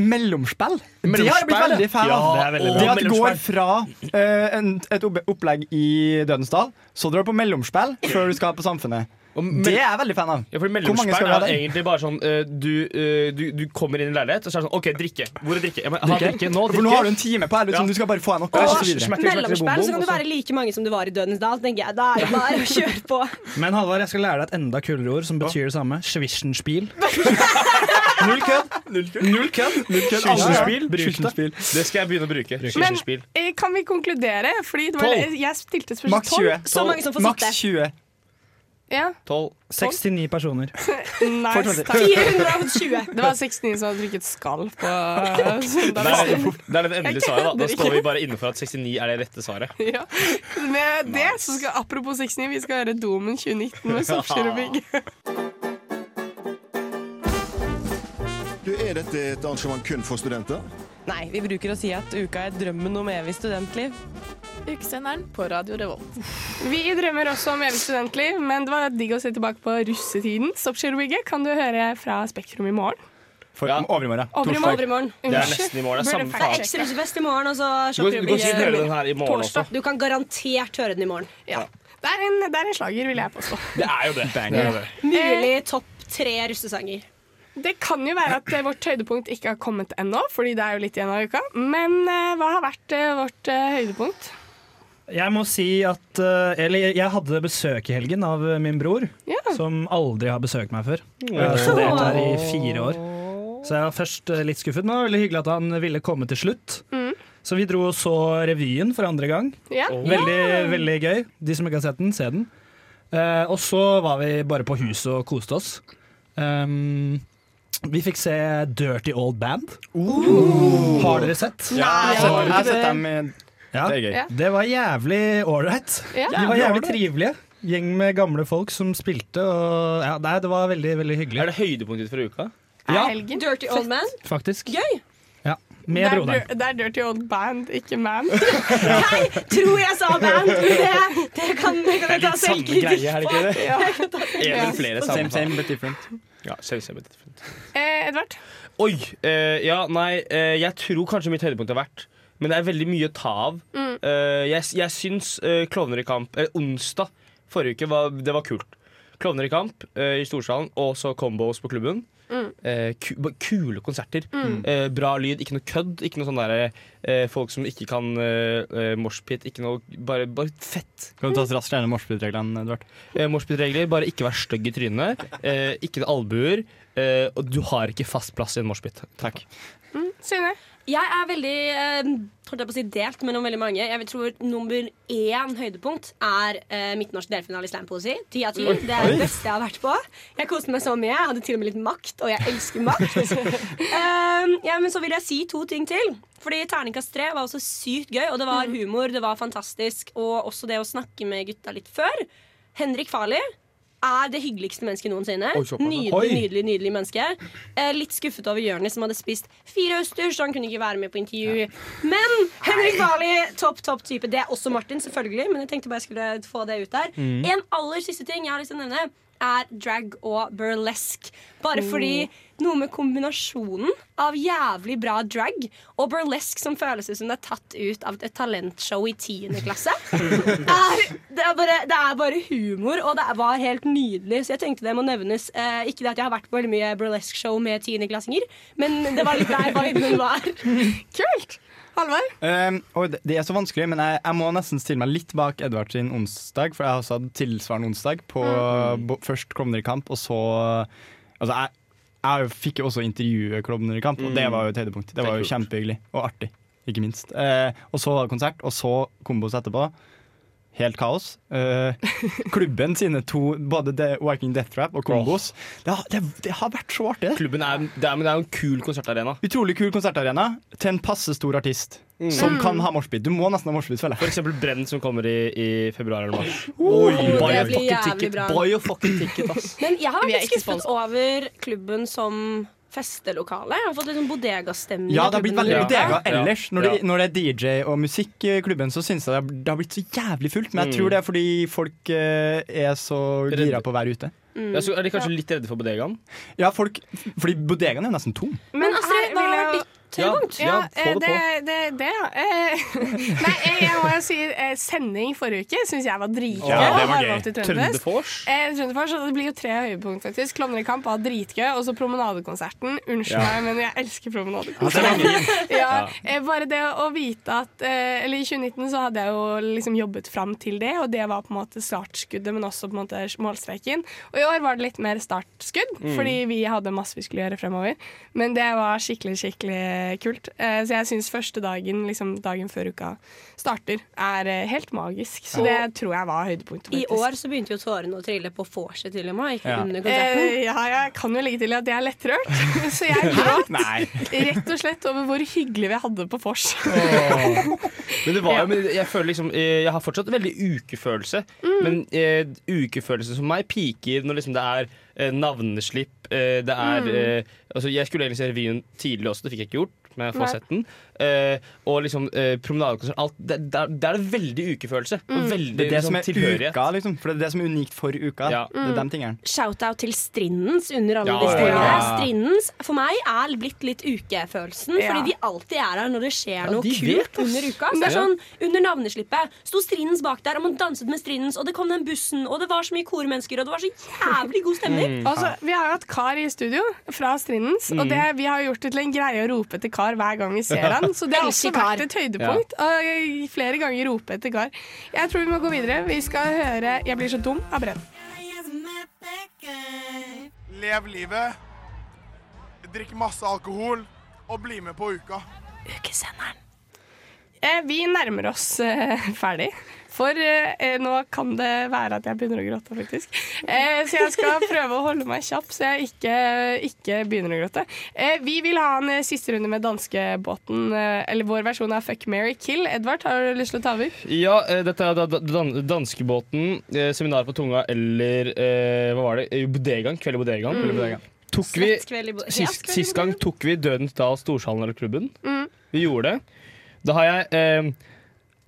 B: mellomspill. Det har jeg blitt
F: Mellomspill,
B: veldig fan av.
F: ja, det er veldig bra.
B: at det går fra eh, en, et opp- opplegg i Dødensdal, så drar du på mellomspill før du skal på Samfunnet. Det er jeg veldig fan av.
F: Ja, fordi
B: Hvor mange skal
F: Mellomsperren
B: vi ha
F: er
B: der?
F: egentlig bare sånn eh, du, eh, du, du kommer inn i en leilighet, og så er det sånn OK, drikke. Hvor er drikke? Ja, men, ha
B: Drikke?
F: drikke nå.
B: For
F: Drikke.
B: nå har du en time på her, liksom, du skal bare få en opp.
F: Og
B: og så videre.
F: smekker, smekker,
G: Mellomspill, så kan
F: bom,
G: du
F: bom,
G: være like mange som du var i Dødens dal, tenker jeg. Da er det bare å kjøre på.
I: Men Halvard, jeg skal lære deg et enda kulere ord som betyr det samme. Schwischenspiel. Null kødd! Null kødd!
F: Skisjespill, bruk det.
I: Schwischenspiel.
F: Det skal jeg begynne å bruke.
E: Men
F: Skisjespill.
E: eh, kan vi konkludere? Fordi det var,
F: Tolv.
E: jeg stilte et spørsmål. Tolv.
B: Maks 20.
E: Ja.
F: 12.
I: 69 personer.
E: Nice,
I: Fortsatt.
E: takk.
I: 420.
E: Det var 69 som hadde trykket skall på
B: sånn,
F: Det er, det er det endelige svaret. da Da
E: Jeg
F: står
E: kødder
F: vi
E: ikke.
F: bare inne for at 69 er det rette svaret.
E: Ja. Med det så skal apropos 69, vi skal gjøre Domen 2019 med soppskirurgi.
X: Du, Er dette et arrangement kun for studenter?
H: Nei, vi bruker å si at uka er drømmen om evig studentliv.
E: Ukesenderen på Radio Revolt. Vi drømmer også om evig studentliv, men det var digg å se tilbake på russetiden. Soppskirurgi kan du høre fra Spektrum i morgen.
B: For over i morgen.
E: Over i morgen. Over i morgen.
F: Det er nesten i morgen. Det er samme
G: Det er
F: faen.
G: ekstra rusefest i morgen, og så
F: Du kan- du kan sikkert høre den her i morgen også.
G: Du kan garantert høre den i morgen.
E: Ja. Det er en, det er en slager, vil jeg påstå.
F: Det er jo det. Det er jo det.
G: Mulig topp tre russesanger.
E: Eh, Det kan jo være at eh, vårt høydepunkt ikke har kommet ennå, fordi det er jo litt igjen av uka. Men eh, hva har vært eh, vårt eh, høydepunkt?
I: Jeg må si at eh, Eller jeg- jeg hadde besøk i helgen av eh, min bror, som aldri har besøkt meg før. Og Jeg har studert her i fire år. Så jeg var først eh, litt skuffet, men det var veldig hyggelig at han ville komme til slutt.
E: Mm.
I: Så vi dro og så revyen for andre gang.
E: Ja.
I: Veldig, veldig gøy. De som ikke har sett den, se den. Eh, og så var vi bare på huset og koste oss. Um, vi fikk se Dirty Old Band. Har dere sett?
B: Ja, Nei, jeg har ikke jeg har sett det. dem
I: Ja,
B: Det er gøy. Ja.
I: Det var jævlig ålreit.
B: Ja.
I: De var
B: Jævlig
I: jævlig
B: ålreit.
I: trivelige. Gjeng med gamle folk som spilte. Og, ja, nei, det var veldig, veldig hyggelig.
F: Er det høydepunktet for uka?
I: Ja,
G: Dirty Old Man.
I: faktisk.
G: Gøy!
I: Ja,
E: det,
I: med
E: er,
I: broderen.
E: dir- det er Dirty Old Band, ikke Man.
G: Tror jeg sa band! Det, det kan det kan
F: Det
G: jeg ta selvkritikk
F: er litt samme greie, er det
G: på.
F: ikke det?
G: Ja, jeg kan ta
F: En eller flere
B: Same,
F: sammen.
B: same, but different.
F: Ja, same, same, but different.
E: Eh, Edvard?
F: Oi! eh, ja, nei, eh, jeg tror kanskje mitt høydepunkt har vært Men det er veldig mye å ta av.
E: Mm.
F: Eh, jeg, jeg syns eh, Klovner i kamp eh, Onsdag forrige uke, var, det var kult. Klovner i kamp eh, i Storsalen, og så combos på klubben.
E: Mm.
F: Eh, ku, ba- kule konserter.
E: Mm.
F: Eh, bra lyd, ikke noe kødd. Ikke noe sånn derre eh, folk som ikke kan eh, eh, moshpit. Ikke noe Bare, bare fett.
B: Kan du ta oss raskt gjennom morsbyreglene, Edvard?
F: Eh, moshpit-regler. Bare ikke vær stygg i trynet. Eh, ikke noe albuer. Eh, og du har ikke fast plass i en moshpit. Takk.
E: Mm, Synne?
G: Jeg er veldig eh, holdt jeg på å si delt mellom veldig mange. Jeg tror nummer én høydepunkt er eh, midtnorsk delfinale i slampoesi. Ti av ti.
E: Oi.
G: Det er
E: Oi.
G: det beste jeg har vært på. Jeg koste meg så mye. Jeg hadde til og med litt makt, og jeg elsker makt. um, ja, men så vil jeg si to ting til. Fordi Terningkast 3 var også sykt gøy, og det
E: Mm.
G: var humor, det var fantastisk. Og også det å snakke med gutta litt før. Henrik Farli er det hyggeligste mennesket noensinne.
K: Oi, såpass, ja.
G: nydelig,
K: Oi.
G: nydelig nydelig menneske. Eh, litt skuffet over Jonis, som hadde spist fire østers, så han kunne ikke være med på intervju. Men Henrik Farli, topp, topp type. Det er også Martin, selvfølgelig, men jeg tenkte bare jeg skulle få det ut der.
K: Mm.
G: En aller siste ting jeg har lyst til å nevne, er drag og burlesque. Bare fordi noe med kombinasjonen av jævlig bra drag og burlesque som føles ut som det er tatt ut av et talentshow i 10. klasse. Er, det, er bare, det er bare humor, og det er- var helt nydelig, så jeg tenkte det må nevnes. Eh, ikke det at jeg har vært på veldig mye burlesque-show med 10.-klassinger, men det var litt der viben var.
E: Kult! Halvard?
B: Um, og det, det er så vanskelig, men jeg, jeg må nesten stille meg litt bak Edvard sin onsdag, for jeg har også hatt tilsvarende onsdag. På, bo, først Klovner i kamp, og så Altså, jeg, jeg fikk jo også intervjue Klovner i kamp, og det var jo et høydepunkt. Det var jo kjempehyggelig og artig, ikke minst. Eh, og så var det konsert, og så kombos etterpå. Helt kaos. Eh, klubben sine to, både The Viking Death Trap og kombos, det, har- det, det har vært så artig.
F: Klubben er, det er, men det er jo en kul konsertarena.
B: Utrolig kul konsertarena til en passe stor artist.
F: Mm.
B: Som
F: Mm.
B: kan ha moshpit. Du må nesten ha moshpit, føler jeg.
F: For eksempel Brenn som kommer i, i februar eller mars.
G: Oi,
F: buy
G: det
F: a
G: blir
F: fucking
G: jævlig
F: ticket,
G: bra.
F: Buy a fucking ticket, ass.
G: Men jeg har
E: Vi er
G: vært
E: ikke
G: skuffet over klubben som festelokale. Jeg har fått litt sånn bodegastemning.
B: Ja,
G: av
B: det har blitt
G: klubben
B: veldig
G: i
B: bodega
G: Europa.
B: ellers. Når, det- når det er DJ og musikk i klubben, så syns jeg det har- det har blitt så jævlig fullt. Men jeg
F: Mm.
B: tror det er fordi folk eh, er så gira på å være ute.
F: Mm. Ja, så er de kanskje litt redde for bodegaen?
B: Ja, folk Fordi bodegaen er jo nesten tom.
E: Men Astrid, hva har vært ditt
B: høydepunkt? Ja, ja, få det
E: det, det, det, ja. Eh, Nei, jeg, jeg må jo si eh, sending forrige uke syns jeg var dritgøy.
F: Ja, det var
E: Jeg
F: gøy.
E: valgt til Trøndenes.
F: Trøndefors?
E: Eh, Trøndefors, og det blir jo tre høydepunkt, faktisk. Klovner i kamp var dritgøy, og så promenadekonserten. Unnskyld
F: Ja.
E: meg, men jeg elsker
F: Ja, den er
E: promenadekonserten.
F: fin.
E: ja,
F: Ja.
E: eh, bare det å vite at eh, Eller i 2019 så hadde jeg jo liksom jobbet fram til det, og det var på en måte startskuddet, men også på en måte målstreken. Og i år var det litt mer startskudd,
L: Mm.
E: fordi vi hadde masse vi skulle gjøre fremover. Men det var skikkelig, skikkelig kjempekult. Eh, Så jeg syns første dagen, liksom dagen før uka starter, er eh, helt magisk. Så
G: Og-
E: det tror jeg var høydepunktet.
G: I
E: faktisk.
G: år så begynte jo tårene å trille på vorset til og med, ikke
E: Ja.
G: under
E: Eh,
G: konserten.
E: ja, jeg kan jo legge til at jeg er lettrørt, så jeg gråt rett og slett over hvor hyggelig vi hadde på vors.
F: Men det var jo, men jeg føler liksom eh, Jeg har fortsatt veldig ukefølelse.
L: Mm.
F: Men eh, ukefølelse som meg piker når liksom det er eh, navneslipp. Eh, det er
L: Mm.
F: eh, altså Jeg skulle egentlig se revyen tidlig også, det fikk jeg ikke gjort. Men jeg
L: Nei.
F: får sett den. Eh, og liksom eh, promenadekonsert. alt, Det, det, er- det er en veldig ukefølelse.
L: Mm.
F: Og veldig
B: Det er det
F: liksom,
B: som er
F: tilhørighet.
B: uka, liksom. For det er det som er unikt for uka. Det er
F: Mm.
B: de tingene.
G: Mm. Shout-out til Strindens under alle
B: Ja,
G: disse
B: ja, ja.
G: tingene. Strindens for meg er blitt litt ukefølelsen,
E: Ja.
G: fordi de alltid er her når det skjer noe
E: de
G: kult
E: vet, ass.
G: under uka. Så det er
E: Ja.
G: sånn, Under navneslippet sto Strindens bak der, og man danset med Strindens, og det kom den bussen, og det var så mye kormennesker, og det var så jævlig god stemning.
E: Altså, vi har jo hatt Kar i studio fra Strindens,
G: Mm.
E: og det, vi har gjort det til en greie å rope etter Kar hver gang vi ser han. Så det har også
G: Elsker Kar.
E: vært et høydepunkt. å flere ganger rope etter Kar. Jeg tror vi må gå videre. Vi skal høre 'Jeg blir så dum' av Brenn.
M: Lev livet. Drikk masse alkohol. Og bli med på uka.
E: Ukesenderen. Eh, vi nærmer oss eh, ferdig. For eh, eh, nå kan det være at jeg begynner å gråte, faktisk. Eh, så jeg skal prøve å holde meg kjapp, så jeg ikke, ikke begynner å gråte. Eh, vi vil ha en eh, siste runde med danskebåten, eh, eller vår versjon av Fuck, marry, kill. Edvard, har du lyst til å ta over?
F: Ja, eh, dette er da, da, dan, Danskebåten, eh, Seminar på tunga eller eh, Hva var det? Eh, Bodegaen. Kveld i bodegaen.
E: Mm. Kveld i bodegaen.
F: Tok vi,
G: Slettkveld i bo- Ja,
F: sist,
G: kveld i
F: sist gang tok vi Dødens Dal Storsalen eller klubben.
E: Mm.
F: Vi gjorde det. Da har jeg eh,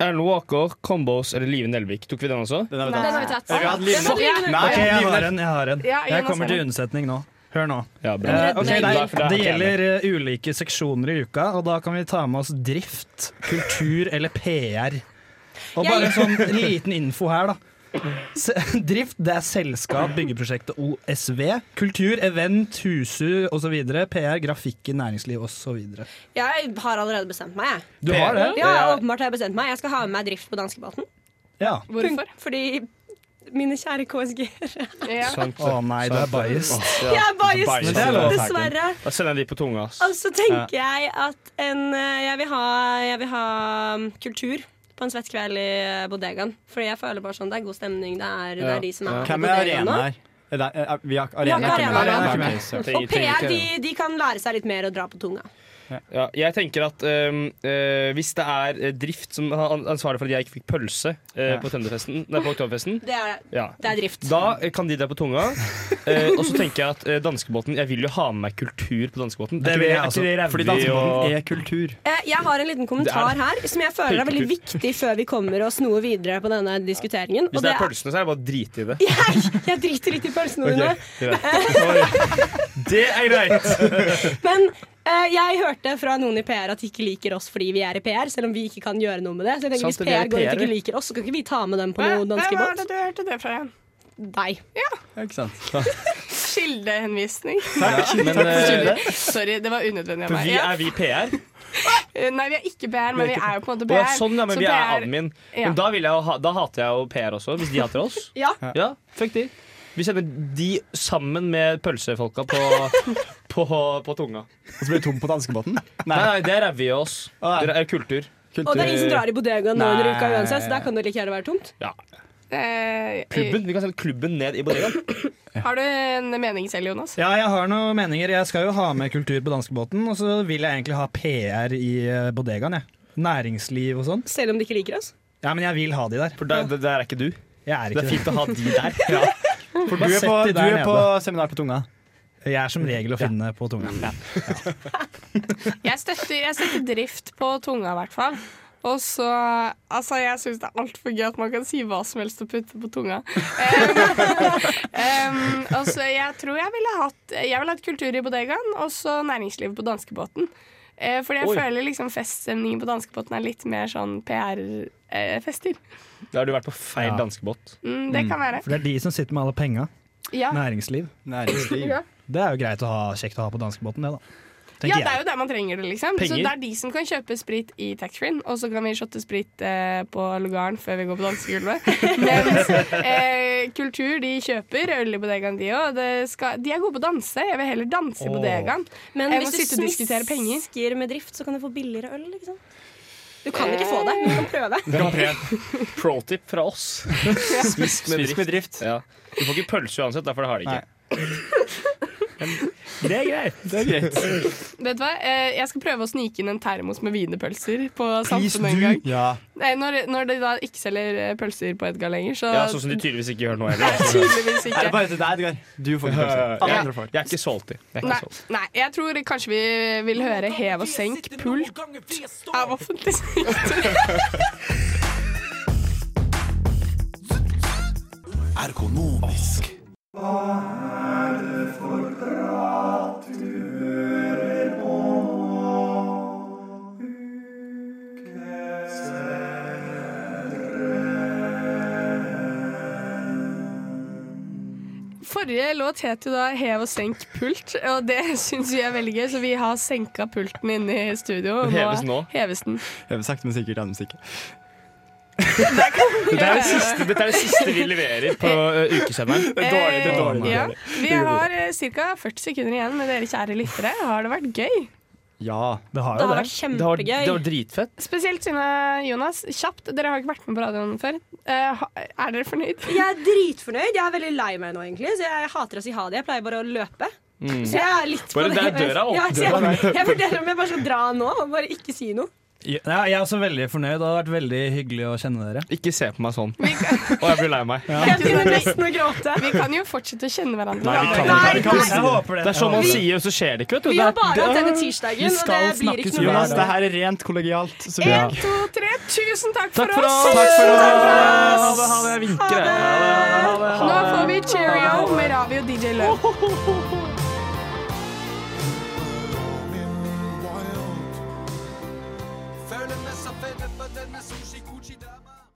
F: Erlend Walker, Combos eller Live Nelvik. Tok vi den også?
I: Den har vi tatt. Nei, den har vi tatt. Ja, vi har hatt Live
F: Fuck,
I: Nelvik.
F: nei.
I: Ok, jeg har en, jeg har en.
F: Ja,
I: Jeg
F: Jonas
I: kommer
F: har
I: til
F: en.
I: unnsetning nå. Hør nå.
F: Ja, bra.
I: Eh, ok,
F: Nei,
I: det,
F: nei, for det er
I: det
F: ikke jeg
I: gjelder eh, ulike seksjoner i uka, og da kan vi ta med oss drift, kultur eller PR. Og bare en sånn liten info her, da. Se, drift det er selskap, byggeprosjektet OSV. Kultur, event, hushus osv. PR, grafikk i næringsliv osv.
G: Jeg har allerede bestemt meg, jeg.
I: Du har det?
G: Ja, åpenbart har jeg bestemt meg. Jeg skal ha med meg drift på danskebåten.
I: Ja.
G: Hvorfor? Fordi mine kjære KSG-ere.
I: Å nei, du er biased.
G: Jeg er biased,
F: Biased.
G: Men det er lov. dessverre. Altså,
F: Da sender jeg de på tunga. ass.
G: Og så tenker jeg at en, eh, jeg, vil ha, jeg vil ha mm, kultur på en svett kveld i eh, bodegaen. Fordi jeg føler bare sånn, det er god stemning. Det er, det er de som er på
B: Hvem er
G: bodegaen
B: arena
G: nå.
B: her? Er det, er, vi har
G: Vi har ikke
B: arena. er ikke med.
G: arena.
B: Arena er ikke med. Sorry.
G: Og PR, de, de kan lære seg litt mer å dra på tunga.
F: Ja, jeg tenker at øhm, øh, hvis det er eh, drift som er an- ansvarlig for at jeg ikke fikk pølse eh,
G: Ja.
F: på Tønderfesten, nei, på Oktoberfesten
G: Det er,
F: ja.
G: det er drift.
F: Da eh, kan de dra på tunga. Eh, og så tenker jeg at eh, danskebåten Jeg vil jo ha med meg kultur på danskebåten.
B: Det vil jeg også, fordi danskebåten er
F: kultur.
G: Eh, Jeg har en liten kommentar
F: Det er-
G: her som jeg føler er veldig viktig før vi kommer oss noe videre på denne diskuteringen.
F: Hvis det er pølsene, så er det bare å drite i det.
G: Jeg driter litt i pølsene
F: Ok,
G: dine.
F: greit. Det er greit!
G: Men eh, jeg hørte fra noen i PR at de ikke liker oss fordi vi er i PR, selv om vi ikke kan gjøre noe med det. Så jeg tenker Hvis
E: Sant, vi er
G: PR går ut og
E: PR-er.
G: ikke liker oss, så kan ikke vi ta med dem på
E: Hva-
G: noe
E: Hvem er det
G: danskebåt.
E: du hørte det fra igjen?
G: Deg.
B: Ikke sant?
E: Kildehenvisning.
F: Takk. Men, eh,
E: Sorry, det var unødvendig av
F: For
E: meg.
F: vi,
E: Ja.
F: er vi PR?
E: Eh, Nei, vi er ikke PR, men vi er jo på en måte
F: Å, ja,
E: PR.
F: sånn, ja, men
E: Så
F: vi er
E: PR
F: admin.
E: Ja.
F: Men da, vil jeg jo ha, da hater jeg jo PR også, hvis de hater oss.
G: Ja.
F: ja Fuck de. Vi sender de sammen med pølsefolka på, på, på tunga.
B: Og så blir det tom på danskebåten?
F: Nei, nei, det er ræva oss. Det er kultur.
G: Og det er ingen som drar i bodegaen nå under
F: eh, Nei.
G: uka uansett, så der kan det like gjerne være tomt.
F: Ja.
E: Eh,
F: Klubben, Vi kan sende klubben ned i bodegaen.
E: Har du en mening selv, Jonas?
I: Ja, jeg har noen meninger. Jeg skal jo ha med kultur på danskebåten, og så vil jeg egentlig ha PR i eh, bodegaen, jeg. Næringsliv og sånn.
G: Selv om de ikke liker oss?
I: Ja, men jeg vil ha de der.
F: For der, er ikke du?
I: Jeg er
F: Det
I: ikke
F: er fint å ha de der.
B: For du
I: Bare
B: er
I: sett
B: på,
I: de
B: du
I: der
B: er på
I: nede.
B: seminar på tunga?
I: Jeg er som regel å finne på tunga.
E: Jeg støtter, jeg støtter drift på tunga, i hvert fall. Og så Altså, jeg syns det er altfor gøy at man kan si hva som helst og putte på tunga. Um, um, og så jeg tror jeg ville hatt Jeg ville hatt kultur i bodegaen, og så næringslivet på danskebåten. Eh, fordi jeg
F: Oi.
E: føler liksom feststemningen på danskebåten er litt mer sånn eh, PR-fester.
F: Da har du vært på feil danskebåt.
E: Mm, det kan være.
I: For det er de som sitter med alle penga.
E: Ja.
I: Næringsliv.
E: Ja.
I: Det er jo greit å ha, kjekt å ha på danskebåten, det, da.
E: ja,
I: tenker
E: det er
I: jeg.
E: jo der man trenger det, liksom. Så
I: Penger.
E: det er de som kan kjøpe sprit i taxfree-en, og så kan vi shotte sprit eh, på lugaren før vi går på dansegulvet. Mens eh, kultur, de kjøper øl i bodegaen, de òg. De er gode på å danse. Jeg vil heller danse i
G: Åh.
E: bodegaen
G: Men
E: enn å
G: hvis
E: sitte
G: du
E: og diskutere penger.
G: smisker med drift, så kan du få billigere øl, ikke sant? Du kan ikke få det, men du kan prøve.
F: Pro tip fra oss. Smisk med drift. Ja. Du får ikke pølse uansett, derfor har de ikke. Men det er greit.
B: Det er greit.
E: Vet du hva? Eh, jeg skal prøve å snike inn en termos med wienerpølser på
B: Please
E: Samfunnet en gang.
B: do. Ja.
E: Nei, når, når de da ikke selger eh, pølser på Edgar lenger, så
F: Ja, sånn som de tydeligvis ikke gjør nå heller. altså.
E: Nei, tydeligvis ikke.
B: Er det bare til deg, Edgar? Du får ikke pølse. Alle
F: Ja.
B: andre får.
F: Jeg er ikke solgt i. Jeg er
E: Nei,
F: ikke solgt.
E: nei, jeg tror kanskje vi vil høre hev og senk pult av offentlig sektor.
J: Ergonomisk.
E: Forrige låt het jo da Hev og senk pult, og det syns vi er veldig gøy, så vi har senka pulten inne i studio. og
B: Heves nå?
E: Heves den.
B: Jeg vil sakte, men sikkert ende musikk.
F: Dette er det siste, dette er det siste vi leverer på uh, ukesenderen.
E: Eh, Ja. Vi har ca. 40 sekunder igjen med dere kjære lyttere. Har det vært gøy?
B: Ja, det har
E: Det jo har det. vært kjempegøy.
F: dritfett.
E: Spesielt siden Jonas. Kjapt, dere har ikke vært med på radioen før. Eh, ha- er dere fornøyd?
G: Jeg er dritfornøyd. Jeg er veldig lei meg nå, egentlig, så jeg hater å si ha det. Jeg pleier bare å løpe.
F: Mm.
G: Så jeg er litt
F: Bare
G: på det.
F: der døra åpner.
G: Ja, så jeg, jeg vurderer om jeg bare skal dra nå og bare ikke si noe.
I: Ja, jeg er også veldig fornøyd. Det har vært veldig hyggelig å kjenne dere.
F: Ikke se på meg sånn. Og jeg blir lei meg.
E: Jeg begynner
G: nesten å gråte.
E: Vi kan jo fortsette å kjenne hverandre.
F: Nei, vi kan
E: Nei,
F: ikke.
E: nei.
F: Jeg håper det. Det er sånn man sier, og så skjer det ikke. Vet du.
E: Vi
F: Det er-
E: har bare
F: det-
E: hatt denne tirsdagen,
F: Vi
E: og det
F: skal
E: blir ikke
F: snakkes
E: noe
F: mer.
E: mer.
B: Jonas, det her er rent kollegialt. så vi-
E: En, to, tre. Tusen takk,
B: Takk for
E: for oss!
B: oss. Takk for oss.
E: Ha det, ha det.
F: Jeg vinker, jeg. Ha det, ha det, ha
E: Nå
F: det.
E: får vi cheerio med Ravi og DJ Løv.
J: Føler meg som fedre på denne sushi-kuchi der.